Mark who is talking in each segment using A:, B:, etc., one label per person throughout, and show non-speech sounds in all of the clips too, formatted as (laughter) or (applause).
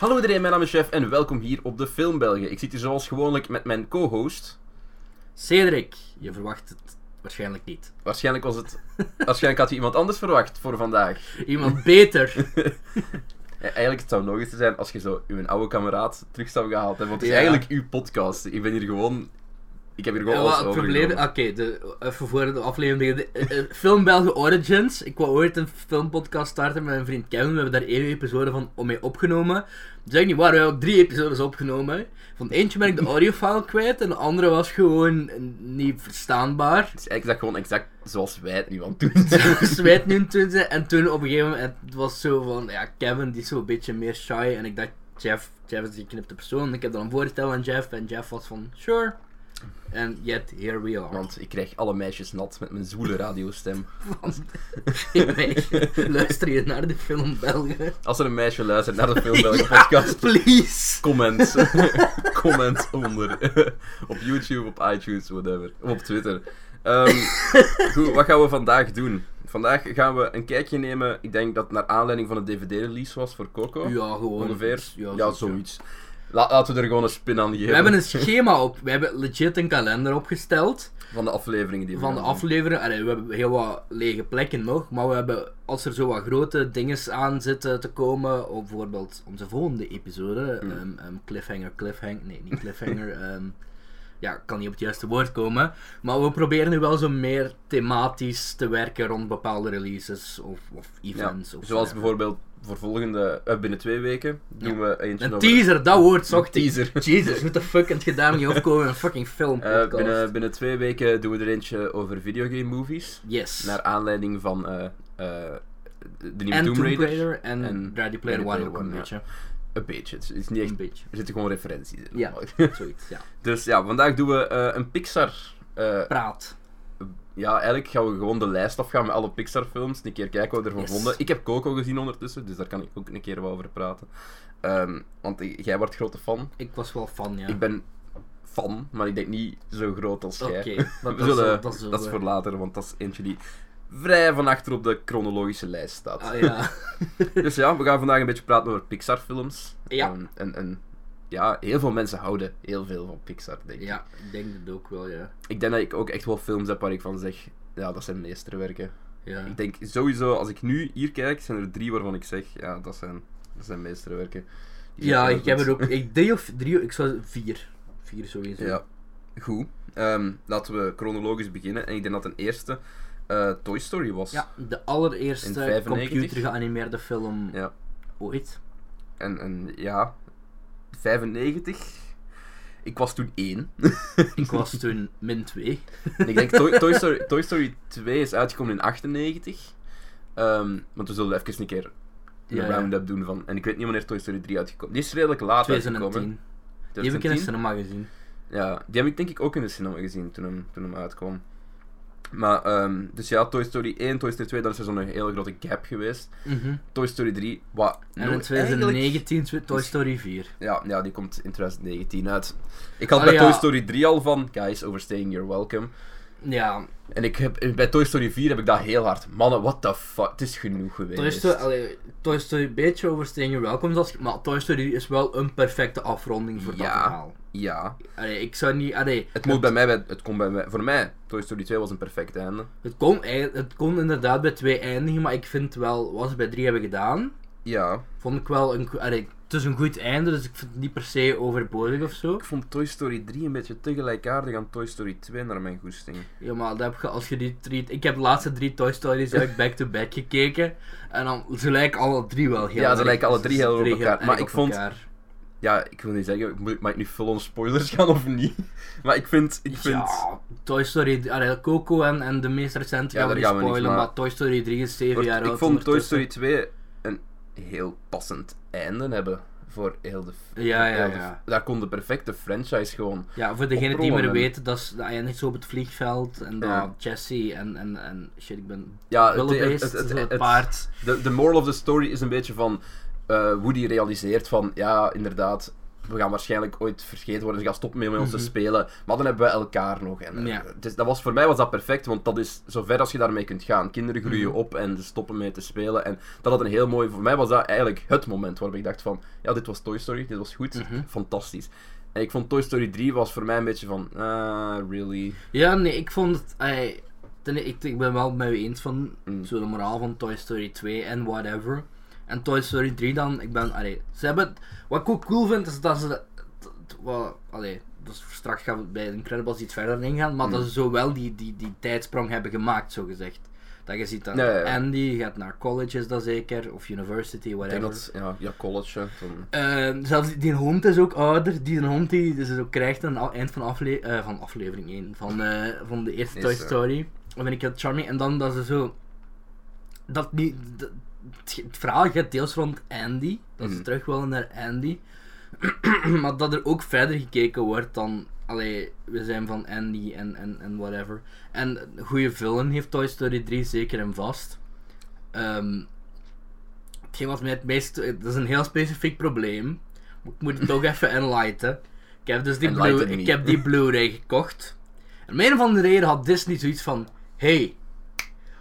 A: Hallo iedereen, mijn naam is Chef en welkom hier op de Film België. Ik zit hier zoals gewoonlijk met mijn co-host.
B: Cedric, je verwacht het waarschijnlijk niet.
A: Waarschijnlijk, was
B: (laughs)
A: het... Waarschijnlijk had je iemand anders verwacht voor vandaag.
B: Iemand beter.
A: Ja, eigenlijk het zou logisch zijn als je zo uw oude kameraad terug zou gehaald hebben. Want het is
B: Ja.
A: eigenlijk uw podcast. Ik ben hier gewoon... Ik heb hier gewoon
B: Ja,
A: alles
B: wat het probleem... Oké,
A: overgenomen.
B: de- eh, even voor de aflevering. De, eh, Film België Origins. Ik wou ooit een filmpodcast starten met mijn vriend Kevin. We hebben daar één episode van om mee opgenomen. Dat is ook niet waar, we hebben ook drie episodes opgenomen. Van eentje ben ik de audiofile kwijt en de andere was gewoon niet verstaanbaar.
A: Het is eigenlijk gewoon exact zoals wij het nu aan het
B: (laughs)
A: doen zijn.
B: Zwijt nu toen ze en toen op een gegeven moment het was zo van ja Kevin die is zo'n beetje meer shy en ik dacht Jeff Jeff is die knipte persoon ik heb dan een voorstel aan Jeff en Jeff was van sure en yet here we (laughs) are
A: Want ik krijg alle meisjes nat met mijn zwoele radiostem.
B: want ik weet, luister je naar de film Belgen
A: Als er een meisje luistert naar de Film
B: (laughs)
A: België podcast...
B: please
A: (laughs) Comment. Comment onder. (laughs) op YouTube, op iTunes, whatever. Of op Twitter.
B: (laughs)
A: Ehm, goed, wat gaan we vandaag doen? Vandaag gaan we een kijkje nemen. Ik denk dat naar aanleiding van het DVD-release was voor Coco.
B: ja gewoon
A: ongeveer. Ja,
B: zo-
A: zoiets. La- laten we er gewoon een spin aan geven.
B: we hebben een schema op we hebben legit een kalender opgesteld
A: Van de afleveringen die we
B: van de
A: gaan doen.
B: aflevering. Allee, we hebben heel wat lege plekken nog, maar we hebben, als er zo wat grote dingen aan zitten te komen, op bijvoorbeeld onze volgende episode,
A: Mm.
B: ehm, ehm, cliffhanger, cliffhanger, nee, niet cliffhanger,
A: (laughs)
B: ehm, ja, ik kan niet op het juiste woord komen, maar we proberen nu wel zo meer thematisch te werken rond bepaalde releases of, of events.
A: Ja,
B: of
A: Zoals
B: eh, whatever.
A: bijvoorbeeld voor volgende, eh, binnen twee weken, doen we eentje
B: Een
A: over-
B: teaser, dat woord zocht ik.
A: teaser.
B: (laughs) Jesus, what the fuck heb je daar niet opkomen in een fucking film
A: Eh, binnen, binnen twee weken doen we er eentje over videogame movies.
B: Yes.
A: Naar aanleiding van eh, eh, de nieuwe
B: en
A: Tomb Raider.
B: en,
A: en
B: Ready Player
A: Ready
B: One
A: Player
B: ook een
A: One, ja.
B: beetje.
A: Een beetje. Het is niet echt,
B: Een beetje.
A: er zitten gewoon referenties in.
B: Ja. Zoiets, ja.
A: (laughs) dus ja, vandaag doen we eh, een Pixar. eh,
B: Praat.
A: ja, eigenlijk gaan we gewoon de lijst afgaan met alle Pixar-films. Een keer kijken wat we ervan
B: Yes.
A: vonden. Ik heb Coco gezien ondertussen, dus daar kan ik ook een keer wel over praten. Ehm, want i- jij wordt grote fan.
B: Ik was wel fan, ja.
A: Ik ben fan, maar ik denk niet zo groot als
B: Oké,
A: jij. (laughs)
B: dat,
A: We
B: dat,
A: zullen-
B: is- dat is,
A: Dat is voor later, want dat is eentje die vrij van achter op de chronologische lijst staat.
B: Ah, ja. (laughs)
A: Dus ja, we gaan vandaag een beetje praten over Pixar-films.
B: Ja.
A: En, en, en ja, heel veel mensen houden heel veel van Pixar, denk ik.
B: ja, ik denk dat ook wel, ja.
A: Ik denk dat ik ook echt wel films heb waar ik van zeg, ja, dat zijn meesterwerken.
B: ja.
A: Ik denk sowieso, als ik nu hier kijk, zijn er drie waarvan ik zeg, ja, dat zijn, dat zijn meesterwerken. Die zijn
B: Ja,
A: heel
B: ik heb
A: goed.
B: er ook... Ik, drie of drie... Ik zou vier. Vier sowieso.
A: Ja, goed. Ehm, laten we chronologisch beginnen. En ik denk dat een eerste eh, Toy Story was.
B: Ja, de
A: In
B: allereerste
A: 95?
B: computer geanimeerde film
A: Ja.
B: ooit.
A: En, en ja, 95. Ik was toen één.
B: Ik was toen min 2.
A: En ik denk Toy, Toy, Story, Toy Story 2 is uitgekomen in 98. Ehm, want we zullen even een keer een
B: Ja, ja.
A: round-up doen van. En ik weet niet wanneer Toy Story 3 uitgekomen Die is redelijk laat uitgekomen.
B: 2010. Die heb ik in de
A: 2010?
B: cinema gezien.
A: Ja, die heb ik denk ik ook in de cinema gezien toen hem, toen hem uitkwam. Maar, ehm, dus ja, Toy Story 1, Toy Story 2, daar is er zo'n hele grote gap geweest.
B: Mhm.
A: Toy Story 3, wat
B: En in
A: nooit-
B: 2019 tw- Toy Story 4.
A: Ja, ja, die komt in 2019 uit. Ik had
B: Ah,
A: bij
B: ja.
A: Toy Story 3 al van, guys, overstaying your welcome.
B: Ja,
A: En ik heb, bij Toy Story 4 heb ik dat heel hard. Mannen, what the fuck, het is genoeg geweest.
B: Toy Story, allee, Toy Story een beetje oversteken welkom, als- maar Toy Story is wel een perfecte afronding voor dat
A: Ja.
B: verhaal.
A: Ja,
B: Allee, ik zou niet, allee,
A: het moet bij mij, bij- het komt bij mij. Voor mij, Toy Story 2 was een perfect einde.
B: het kon, eigenlijk- het kon inderdaad bij twee eindigen, maar ik vind wel, wat ze bij drie hebben gedaan,
A: Ja,
B: vond ik wel een, go- allee, het is een goed einde, dus ik vind het niet per se overbodig of zo.
A: ik vond Toy Story 3 een beetje tegelijkaardig aan Toy Story 2 naar mijn goesting.
B: Ja, maar dat heb je, als je die drie, ik heb de laatste drie Toy Stories eigenlijk back-to-back gekeken, en dan, ze lijken alle drie wel heel
A: Ja, ze
B: erg-
A: lijken alle drie heel erg op
B: drie
A: elkaar, maar
B: erg
A: ik
B: op
A: vond-
B: elkaar.
A: Ja, ik wil niet zeggen, moet ik- mag ik nu full on spoilers gaan of niet? (laughs) Maar ik vind, ik vind...
B: Ja, Toy Story, allee, Coco en, en de meest recente
A: Ja,
B: gaan we
A: daar
B: niet
A: gaan we niet,
B: spoilen, maar...
A: maar-
B: Toy Story 3 is 7
A: Wordt-
B: jaar oud.
A: ik vond Toy Story
B: ondertussen.
A: 2 een heel passend einde hebben voor heel de... f-
B: Ja, ja,
A: heel de f-
B: ja.
A: Daar kon de perfecte franchise gewoon...
B: Ja, voor degenen die
A: Opdrongen.
B: meer weten, dat is dat eindigt zo op het vliegveld en dan
A: Ja.
B: Jesse en, en, en shit, ik ben
A: Ja, het, het,
B: Wildebeest,
A: het,
B: het,
A: het, het-
B: paard.
A: De, de moral of the story is een beetje van eh, Woody realiseert van ja, inderdaad, we gaan waarschijnlijk ooit vergeten worden. Ze gaan stoppen met met ons te spelen. Maar dan hebben we elkaar nog. En, eh,
B: Ja.
A: het is- dat was, voor mij was dat perfect, want dat is zo ver als je daarmee kunt gaan. Kinderen groeien op en ze stoppen mee te spelen. En dat had een heel mooi... Voor mij was dat eigenlijk het moment waarop ik dacht van... Ja, dit was Toy Story. Dit was goed. Fantastisch. En ik vond Toy Story 3 was voor mij een beetje van... Ah, really?
B: Ja, nee, ik vond het. ey, ten- ik, ik ben wel met u eens van
A: Mm.
B: zo de moraal van Toy Story 2 en whatever. En Toy Story 3 dan, ik ben. Allee, ze hebben, wat ik ook cool vind is dat ze. dat- dat- Wat, allee, dus straks gaan we bij Incredibles iets verder ingaan, maar
A: Mm.
B: dat ze zowel die, die, die tijdsprong hebben gemaakt, zo gezegd. Dat je ziet dat
A: Ja, ja, ja.
B: Andy gaat naar college, is dat zeker, of university,
A: Ik denk
B: whatever.
A: dat... Ja, ja college. hè, toen-
B: Eh, zelfs die, die hond is ook ouder. Die een hond die dus ook krijgt aan het eind van, afle eh, van aflevering 1 van, eh, van de eerste Toy
A: Eerste.
B: Story. Dat vind ik heel charming. En dan dat ze zo. Dat niet, dat- het, ge- het verhaal gaat deels rond Andy. Dat ze
A: Mhm.
B: terug willen naar Andy. (clears throat) maar dat er ook verder gekeken wordt dan. Allee, we zijn van Andy en, en, en whatever. En een goede film heeft Toy Story 3 zeker en vast. Ehm, hetgeen wat mij het meest... Dat is een heel specifiek probleem. Ik moet het ook even enlighten. Ik heb dus die,
A: Enlighten
B: Blu-
A: me.
B: ik heb die Blu-ray gekocht. En om een of andere reden had Disney zoiets van... Hey,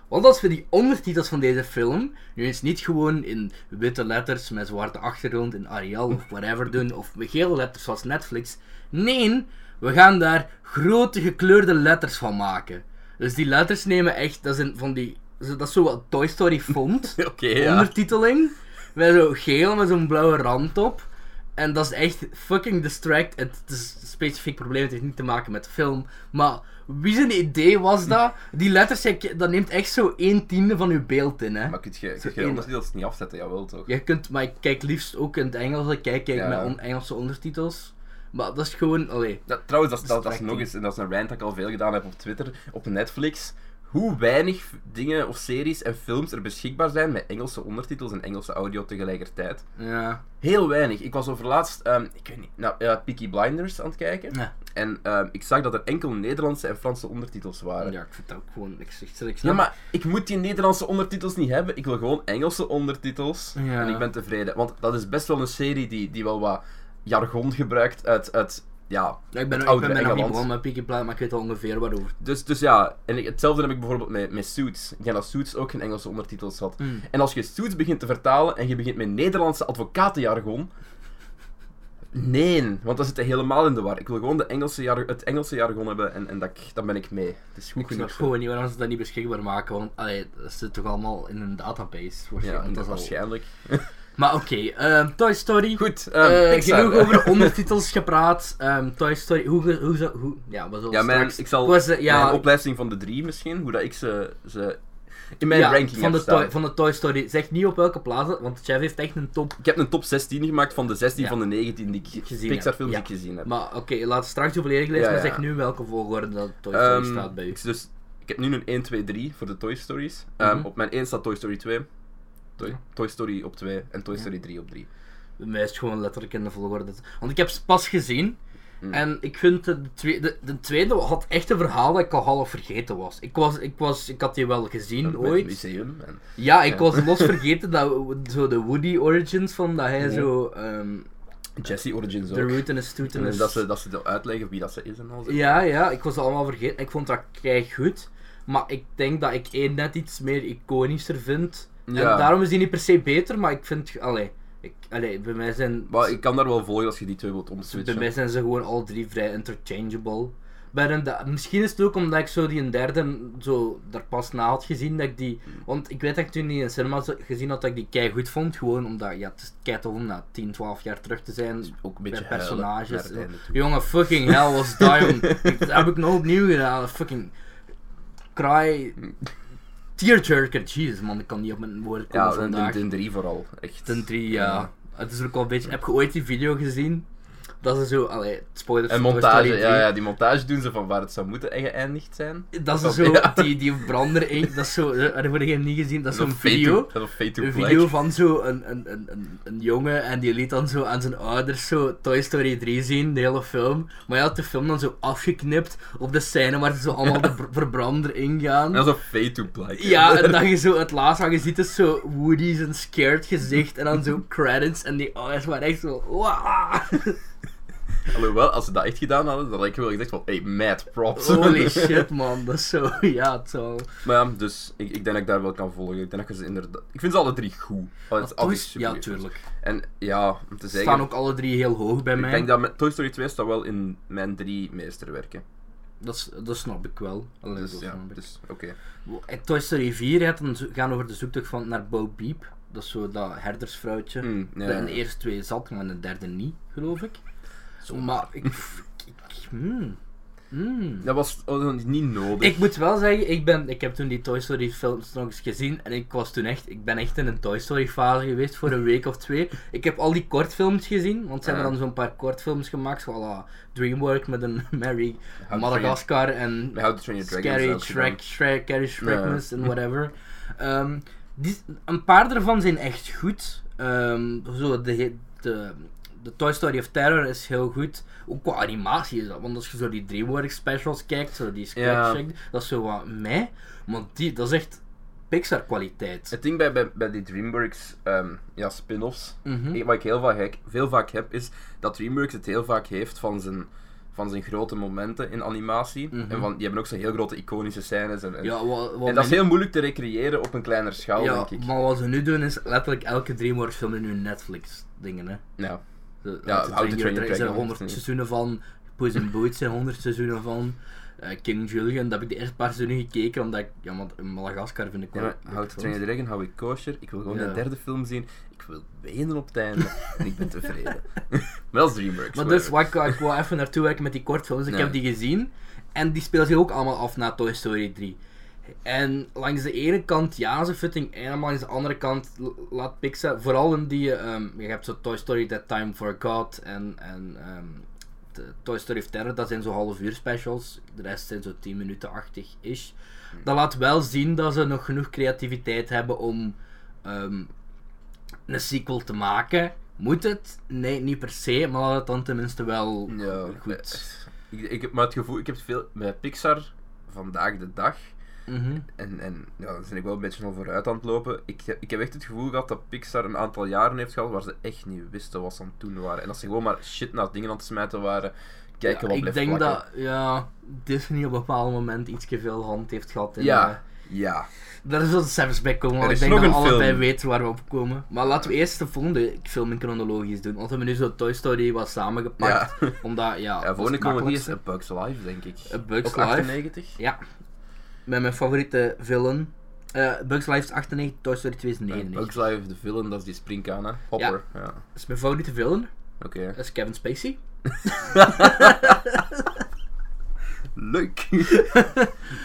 B: want als we die ondertitels van deze film nu eens niet gewoon in witte letters met zwarte achtergrond in Arial of whatever doen, of met gele letters zoals Netflix. Nee, we gaan daar grote gekleurde letters van maken. Dus die letters nemen echt, dat zijn van die, dat is zo wat Toy Story font,
A: Oké, ja.
B: ondertiteling, met zo geel met zo'n blauwe rand op. En dat is echt fucking distract. Het is een specifiek probleem, het heeft niet te maken met de film. Maar wie zijn idee was dat? Die letters, zijn- dat neemt echt zo 1 tiende van uw beeld in, hè.
A: Maar kun je, kun je
B: één-
A: ondertitels niet afzetten? Jawel, toch?
B: Je kunt, maar ik kijk liefst ook in het Engels, ik kijk, kijk
A: Ja.
B: met on- Engelse ondertitels. Maar dat is gewoon, allee.
A: Dat, trouwens, dat, is- dat, dat is
B: Distracting.
A: nog eens, en dat is een rant dat ik al veel gedaan heb op Twitter, op Netflix, hoe weinig f- dingen of series en films er beschikbaar zijn met Engelse ondertitels en Engelse audio tegelijkertijd.
B: Ja.
A: Heel weinig. Ik was overlaatst, ehm ik weet niet, nou, eh, Peaky Blinders aan het kijken.
B: Ja,
A: En ehm, ik zag dat er enkel Nederlandse en Franse ondertitels waren.
B: ja ik vind dat ook gewoon, ik zeg
A: Ja,
B: ik snap-
A: maar ik moet die Nederlandse ondertitels niet hebben. Ik wil gewoon Engelse ondertitels.
B: Ja.
A: En ik ben tevreden. Want dat is best wel een serie die, die wel wat jargon gebruikt uit, uit ja,
B: Ja, ik
A: het
B: ben, ik ben
A: oudere
B: bijna niet
A: Engeland.
B: begonnen met Peaky Blinders, maar ik weet al ongeveer waarover.
A: Dus, dus ja, en ik- hetzelfde heb ik bijvoorbeeld met, met Suits. Ik denk dat Suits ook geen Engelse ondertitels had.
B: Hmm.
A: En als je Suits begint te vertalen en je begint met Nederlandse advocatenjargon... Nee, want dan zit hij helemaal in de war. Ik wil gewoon de Engelse jar- het Engelse jargon hebben en, en dat, ik- dan ben ik mee. Het is goed
B: Ik snap
A: genoeg.
B: gewoon niet waarom ze dat niet beschikbaar maken, want allee, dat zit toch allemaal in een database.
A: Ja,
B: waarschijnlijk.
A: en
B: dat
A: dat
B: is al-
A: waarschijnlijk.
B: Maar oké, ehm, Toy Story.
A: Goed,
B: Eh,
A: ehm Pixar.
B: genoeg over
A: (laughs)
B: de ondertitels gepraat. Ehm, Toy Story, hoe, hoe, hoe, hoe ja, we zullen
A: Ja, mijn,
B: straks...
A: ik zal
B: was, eh, ja,
A: mijn opleiding van de drie misschien, hoe dat ik ze, ze in mijn
B: ja,
A: ranking
B: van
A: heb
B: de, toy,
A: staan.
B: van de Toy Story. Zeg niet op welke plaats, want Chef heeft echt een top.
A: Ik heb een top 16 gemaakt van de 16
B: Ja.
A: van de 19 die ik-
B: Gezien
A: Pixar-films
B: heb,
A: die ik gezien heb.
B: Maar oké, laat straks de volledige lijst,
A: Ja,
B: maar
A: ja.
B: zeg nu welke volgorde dat Toy Story
A: Ehm,
B: staat bij u.
A: ik- Dus ik heb nu een 1, 2, 3 voor de Toy Stories. Ehm,
B: Mhm.
A: Op mijn 1 staat Toy Story 2. Toy,
B: Ja.
A: Toy Story op 2 en Toy
B: Ja.
A: Story 3 op 3.
B: Bij mij is het gewoon letterlijk in de volgorde. Want ik heb ze pas gezien.
A: Mm.
B: En ik vind de tweede, de, de tweede had echt een verhaal dat ik al half vergeten was. Ik, was, ik, was, ik had die wel gezien
A: Met het
B: ooit.
A: museum. En...
B: Ja, ik
A: Ja.
B: was
A: (laughs)
B: los vergeten dat we- zo de Woody Origins van dat hij
A: Ja.
B: zo ehm
A: Jesse Origins ook.
B: de root en de stoot en
A: En
B: de-
A: dat, ze, dat ze de uitleggen wie dat ze is en al. zo.
B: Ja, ja, ik was dat allemaal vergeten. Ik vond dat kei goed. Maar ik denk dat ik één net iets meer iconischer vind.
A: Ja.
B: En daarom is die niet per se beter, maar ik vind. Allee, ik, allee bij mij zijn.
A: Maar ik kan daar wel volgen als je die twee wilt
B: Bij
A: omswitchen.
B: mij zijn ze gewoon al drie vrij interchangeable. Bij een da- misschien is het ook omdat ik zo die een derde zo daar pas na had gezien dat ik die. Want ik weet dat ik toen die in cinema zo- gezien had dat ik die kei goed vond. Gewoon omdat ja, het is kei tof om na 10, 12 jaar terug te zijn.
A: Dus Ook een
B: Bij
A: beetje huilen naar
B: personages.
A: het einde toe.
B: Jongen, fucking hell was
A: (laughs)
B: dat jong. Ik- Dat heb ik nog opnieuw gedaan. Fucking
A: (laughs)
B: kraai. Tearjerker. Jezus man, ik kan niet op mijn woorden komen
A: Ja, en
B: vandaag.
A: de 3 vooral. Echt.
B: Ten 3, ja. Het is ook al een beetje. Heb je ooit die video gezien? Dat ze zo. Allee, spoilers.
A: En
B: voor Toy
A: montage,
B: Story
A: ja,
B: 3.
A: ja, die montage doen ze van waar het zou moeten en geëindigd zijn.
B: Dat ze
A: Dat-
B: zo.
A: (laughs) ja.
B: Die, die brander. in- Dat is zo. Er wordt geen niet gezien. Dat is zo'n
A: Fade to-
B: video.
A: Dat is fade to
B: Een
A: black.
B: video van zo een, een, een, een, een jongen en die liet dan zo aan zijn ouders zo Toy Story 3 zien, de hele film. Maar hij had de film dan zo afgeknipt op de scène waar ze zo allemaal de br- verbrander ingaan.
A: Dat is een fade to black.
B: Ja, en dat je zo het laatste wat je ziet is zo Woody's een scared gezicht en dan zo credits en die ouders waren echt zo. "Waa."
A: Alhoewel, als ze dat echt gedaan hadden, dan had ik wel gezegd van, hey, mad props. (laughs)
B: Holy shit, man. Dat is zo... Ja, het zal...
A: Maar ja, dus ik, ik denk dat ik daar wel kan volgen. Ik denk dat je ze inderdaad... Ik vind ze alle drie goed. Al-
B: Maar
A: alle drie
B: Toy-
A: supergoed.
B: ja, tuurlijk.
A: En ja, om te
B: Ze
A: zeggen...
B: staan ook alle drie heel hoog bij
A: Ik
B: mij.
A: denk
B: Dat...
A: dat met- Toy Story 2 staat wel in mijn drie meesterwerken.
B: is- dat snap ik wel. Alleen
A: Dus
B: dat
A: ja,
B: snap ik. eh,
A: dus, oké.
B: En Toy Story 4 gaat dan zo- gaan over de zoektocht van, naar Bo Peep. Dat is zo dat herdersvrouwtje.
A: Hmm, ja,
B: Dat in
A: ja.
B: de eerste twee zat, maar in de derde niet, geloof ik. Maar ik... ik- ik- hmm. Hmm.
A: Dat was oh, dat was niet nodig.
B: Ik moet wel zeggen, ik, ben, ik heb toen die Toy Story films nog eens gezien en ik was toen echt, ik ben echt in een Toy Story fase geweest voor een week of twee. Ik heb al die kortfilms gezien, want ze hebben
A: Ah.
B: dan zo'n paar kortfilms gemaakt, zoals Dreamwork met een (laughs) Mary
A: How
B: Madagascar en
A: How to Train Your Dragon.
B: Scary
A: zelfs gedaan.
B: Shrek, Shrek, Scary Shrekmas
A: Ja.
B: en
A: (laughs)
B: whatever. Ehm, die, een paar daarvan zijn echt goed. Ehm, zo de, he- de, de Toy Story of Terror is heel goed. Ook qua animatie is dat. Want als je zo die DreamWorks specials kijkt, zo die Scratch
A: Ja.
B: dat is zo wat meh. Want die, dat is echt Pixar kwaliteit.
A: Het ding bij, bij, bij die DreamWorks ehm, ja, spin-offs,
B: Mhm.
A: eh, wat ik heel vaak, hek- veel vaak heb, is dat DreamWorks het heel vaak heeft van zijn, van zijn grote momenten in animatie.
B: Mhm.
A: En van, die hebben ook zijn heel grote iconische scènes. En, en-
B: Ja, wat, wat
A: en dat is heel moeilijk te recreëren op een kleiner schaal,
B: ja,
A: denk ik.
B: maar wat ze nu doen is letterlijk elke DreamWorks film in hun Netflix dingen, hè.
A: Ja.
B: De,
A: Ja,
B: de
A: How to Train Your
B: Er zijn
A: Dragon,
B: 100
A: ja.
B: seizoenen van. Poes in Boots zijn 100 seizoenen van. eh, King Julian, dat heb ik de eerste paar seizoenen gekeken, omdat ik... Ja, want in Madagaskar vind ik
A: Ja,
B: wel...
A: maar
B: leuk
A: How to
B: film.
A: Train Your Dragon hou ik kosher. Ik wil gewoon
B: Ja.
A: de derde film zien. Ik wil wenen op het einde. en ik ben tevreden. (laughs) Wel als DreamWorks.
B: Maar dus,
A: whatever.
B: wat ik, ik wou even naartoe werken met die kortfilms. Ik
A: Ja.
B: heb die gezien. En die speelt zich ook allemaal af na Toy Story 3. En langs de ene kant ja, ze fitting en maar langs de andere kant l- laat Pixar, vooral in die, ehm, je hebt zo Toy Story That Time For God en, en ehm, de Toy Story of Terror, dat zijn zo half uur specials, de rest zijn zo 10 minuten-achtig is.
A: Hmm.
B: Dat laat wel zien dat ze nog genoeg creativiteit hebben om ehm, een sequel te maken. Moet het? Nee, niet per se, maar laat het dan tenminste wel
A: Ja,
B: goed.
A: Ik, ik heb maar het gevoel, ik heb veel met Pixar vandaag de dag.
B: Mhm.
A: En, en ja, daar ben ik wel een beetje al vooruit aan het lopen. Ik, heb- ik heb echt het gevoel gehad dat Pixar een aantal jaren heeft gehad waar ze echt niet wisten wat ze aan het doen waren. En dat ze gewoon maar shit naar dingen aan het smijten waren. Kijken
B: Ja,
A: wat
B: ik
A: blijft
B: denk
A: plakken.
B: dat ja, Disney op een bepaald moment iets veel hand heeft gehad. In, eh,
A: Ja, ja.
B: daar is wel cijfers bij komen,
A: Er
B: want ik
A: is
B: denk
A: nog
B: dat we
A: een
B: allebei
A: film.
B: weten waar we op komen. Maar laten we eerst de volgende film in chronologisch doen, want we hebben nu zo Toy Story wat samengepakt.
A: Ja.
B: Omdat, ja,
A: ja volgende
B: dat is het
A: chronologie is
B: makkelijkste.
A: A Bug's Life, denk ik.
B: A Bug's
A: Ook
B: Life.
A: 98?
B: Ja, met mijn favoriete villain. Eh, Bugs Life is 98, Toy Story 2 is
A: Ja,
B: 99.
A: Bug's Life, de villain, dat is die springkaan, hè? Hopper. Ja.
B: Dat is mijn favoriete villain, (laughs)
A: Oké.
B: dat is Kevin Spacey. (laughs)
A: Leuk!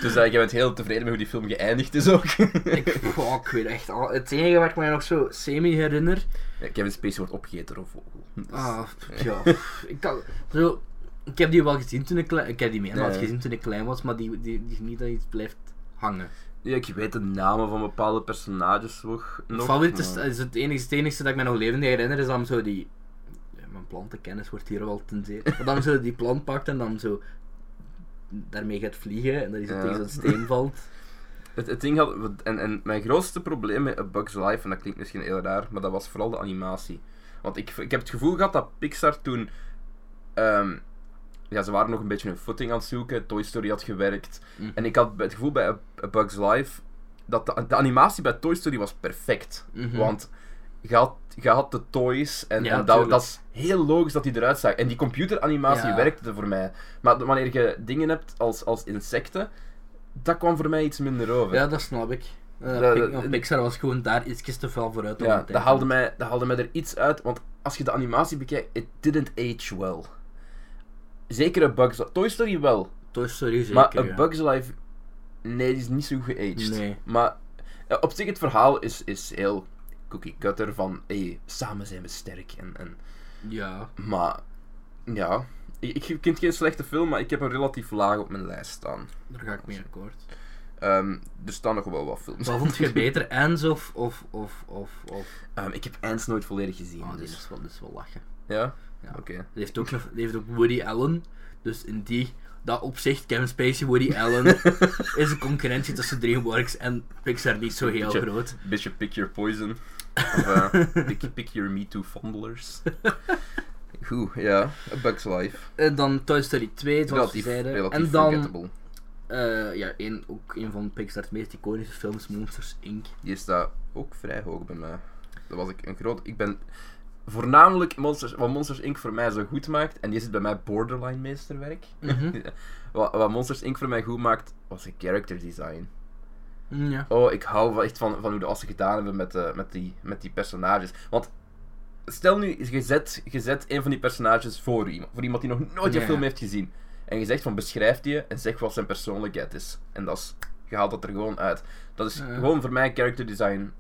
A: dus eh, ik ben heel tevreden met hoe die film geëindigd is
B: (laughs)
A: ook.
B: ik, goh, ik weet echt al, het enige waar ik mij nog zo semi herinner,
A: Ja, Kevin Spacey wordt opgegeten door een vogel. Dus-
B: Ah, (laughs) ja. ik, kan, zo, ik heb die wel gezien toen ik klein Ik heb die meermaals
A: Ja, ja.
B: gezien toen ik klein was, maar die, die, die niet dat iets blijft hangen.
A: Ja, ik weet de namen van bepaalde personages nog. nog,
B: Favoriet is,
A: maar-
B: is het enige, het enige dat ik me nog levend herinner, is dan zo die. ja, mijn plantenkennis wordt hier wel ten zeer. (laughs) Maar dan zo die plant pakt en dan zo daarmee gaat vliegen en dat hij zo
A: Ja.
B: tegen zo'n
A: (laughs)
B: steen valt.
A: Het, het ding had... En, en mijn grootste probleem met A Bug's Life, en dat klinkt misschien heel raar, maar dat was vooral de animatie. Want ik, ik heb het gevoel gehad dat Pixar toen... ehm, ja, ze waren nog een beetje hun footing aan het zoeken. Toy Story had gewerkt.
B: Mhm.
A: En ik had het gevoel bij A, A Bug's Life... Dat de, de animatie bij Toy Story was perfect.
B: Mhm.
A: Want je had, je had de toys en,
B: Ja,
A: en dat,
B: tuurlijk.
A: dat is heel logisch dat die eruit zag. En die computeranimatie
B: Ja.
A: werkte voor mij. Maar de- wanneer je dingen hebt als, als insecten, dat kwam voor mij iets minder over.
B: Ja, dat snap ik. Eh,
A: Dat-
B: Pic-
A: dat-
B: Pixar was gewoon daar ietsjes te veel vooruit. op
A: Ja,
B: die tijd.
A: dat, haalde mij, dat haalde mij er iets uit, want als je de animatie bekijkt, it didn't age well. Zeker een Bugs Life. Toy Story wel,
B: Toy Story zeker.
A: maar een
B: ja.
A: Bugs Life, nee, die is niet zo geaged.
B: Nee.
A: Maar eh, op zich, het verhaal is, is heel cookie cutter van, hey, samen zijn we sterk. En, en
B: Ja.
A: Maar ja, ik, ik vind het geen slechte film, maar ik heb hem relatief laag op mijn lijst staan.
B: Daar ga ik mee akkoord.
A: (laughs) Ehm, er staan nog wel wat films.
B: Wat vond je beter, Ends of... of, of, of, of...
A: (laughs) Ehm, ik heb Ants nooit volledig gezien.
B: Oh, dit
A: dus.
B: is wel, dit is wel lachen.
A: Ja?
B: Ja.
A: Oké.
B: Die heeft, ook, nog- die heeft ook Woody Allen. Dus in die, dat opzicht, Kevin Spacey, Woody
A: (laughs)
B: Allen, is de concurrentie tussen DreamWorks en Pixar niet zo heel
A: Beetje-
B: groot.
A: Beetje pick your poison. Of eh, pick, pick your me too fondlers. Goed, ja. A Bug's Life.
B: Eh, dan Toy Story 2, zoals we
A: Relatief,
B: zeiden.
A: relatief
B: En dan,
A: forgettable.
B: eh, ja, één, ook een van Pixar's meest iconische films, Monsters Inc.
A: Die staat ook vrij hoog bij mij. Dat was ik een groot... Ik ben... Voornamelijk Monsters, wat Monsters Inc. voor mij zo goed maakt, en die zit bij mij borderline meesterwerk.
B: Mhm.
A: (laughs) wat, wat Monsters Inc. voor mij goed maakt, was de character design.
B: Mm, Ja.
A: Oh, ik hou wel echt van, van hoe de assen gedaan hebben met, eh, met, die, met die personages. Want stel nu, je zet, je zet een van die personages voor iemand, voor iemand die nog nooit een
B: Ja.
A: film heeft gezien. En je zegt van beschrijf die en zeg wat zijn persoonlijkheid is. En dat is, je haalt dat er gewoon uit. Dat is
B: Ja.
A: gewoon voor mij character design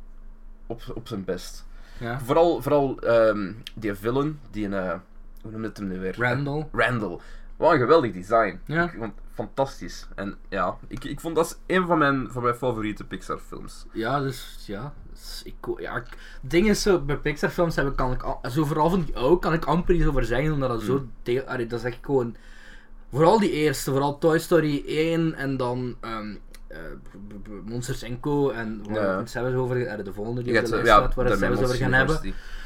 A: op, op zijn best.
B: ja.
A: Vooral, vooral ehm, die villain, die een. eh, hoe noemde het hem nu weer?
B: Randall.
A: Randall. Wat een geweldig design.
B: Ja.
A: Ik vond het fantastisch. En ja, ik, ik vond dat is een van mijn, van mijn favoriete Pixar films.
B: Ja, dus ja. Dus ik, ko- ja ik, ding is zo, bij Pixar films heb ik, kan ik, al- zo vooral van die oude, kan ik amper iets over zeggen, omdat dat
A: Mm.
B: zo deel, allee, dat is echt gewoon, vooral die eerste, vooral Toy Story 1 en dan ehm, eh, b- b- b- Monsters Co. en waar
A: Ja.
B: we het zelfs over, allee, de volgende die
A: Je
B: op
A: hebt,
B: de
A: eh,
B: lijst staat, waar we het
A: de
B: zelfs over gaan hebben.
A: Monsters University.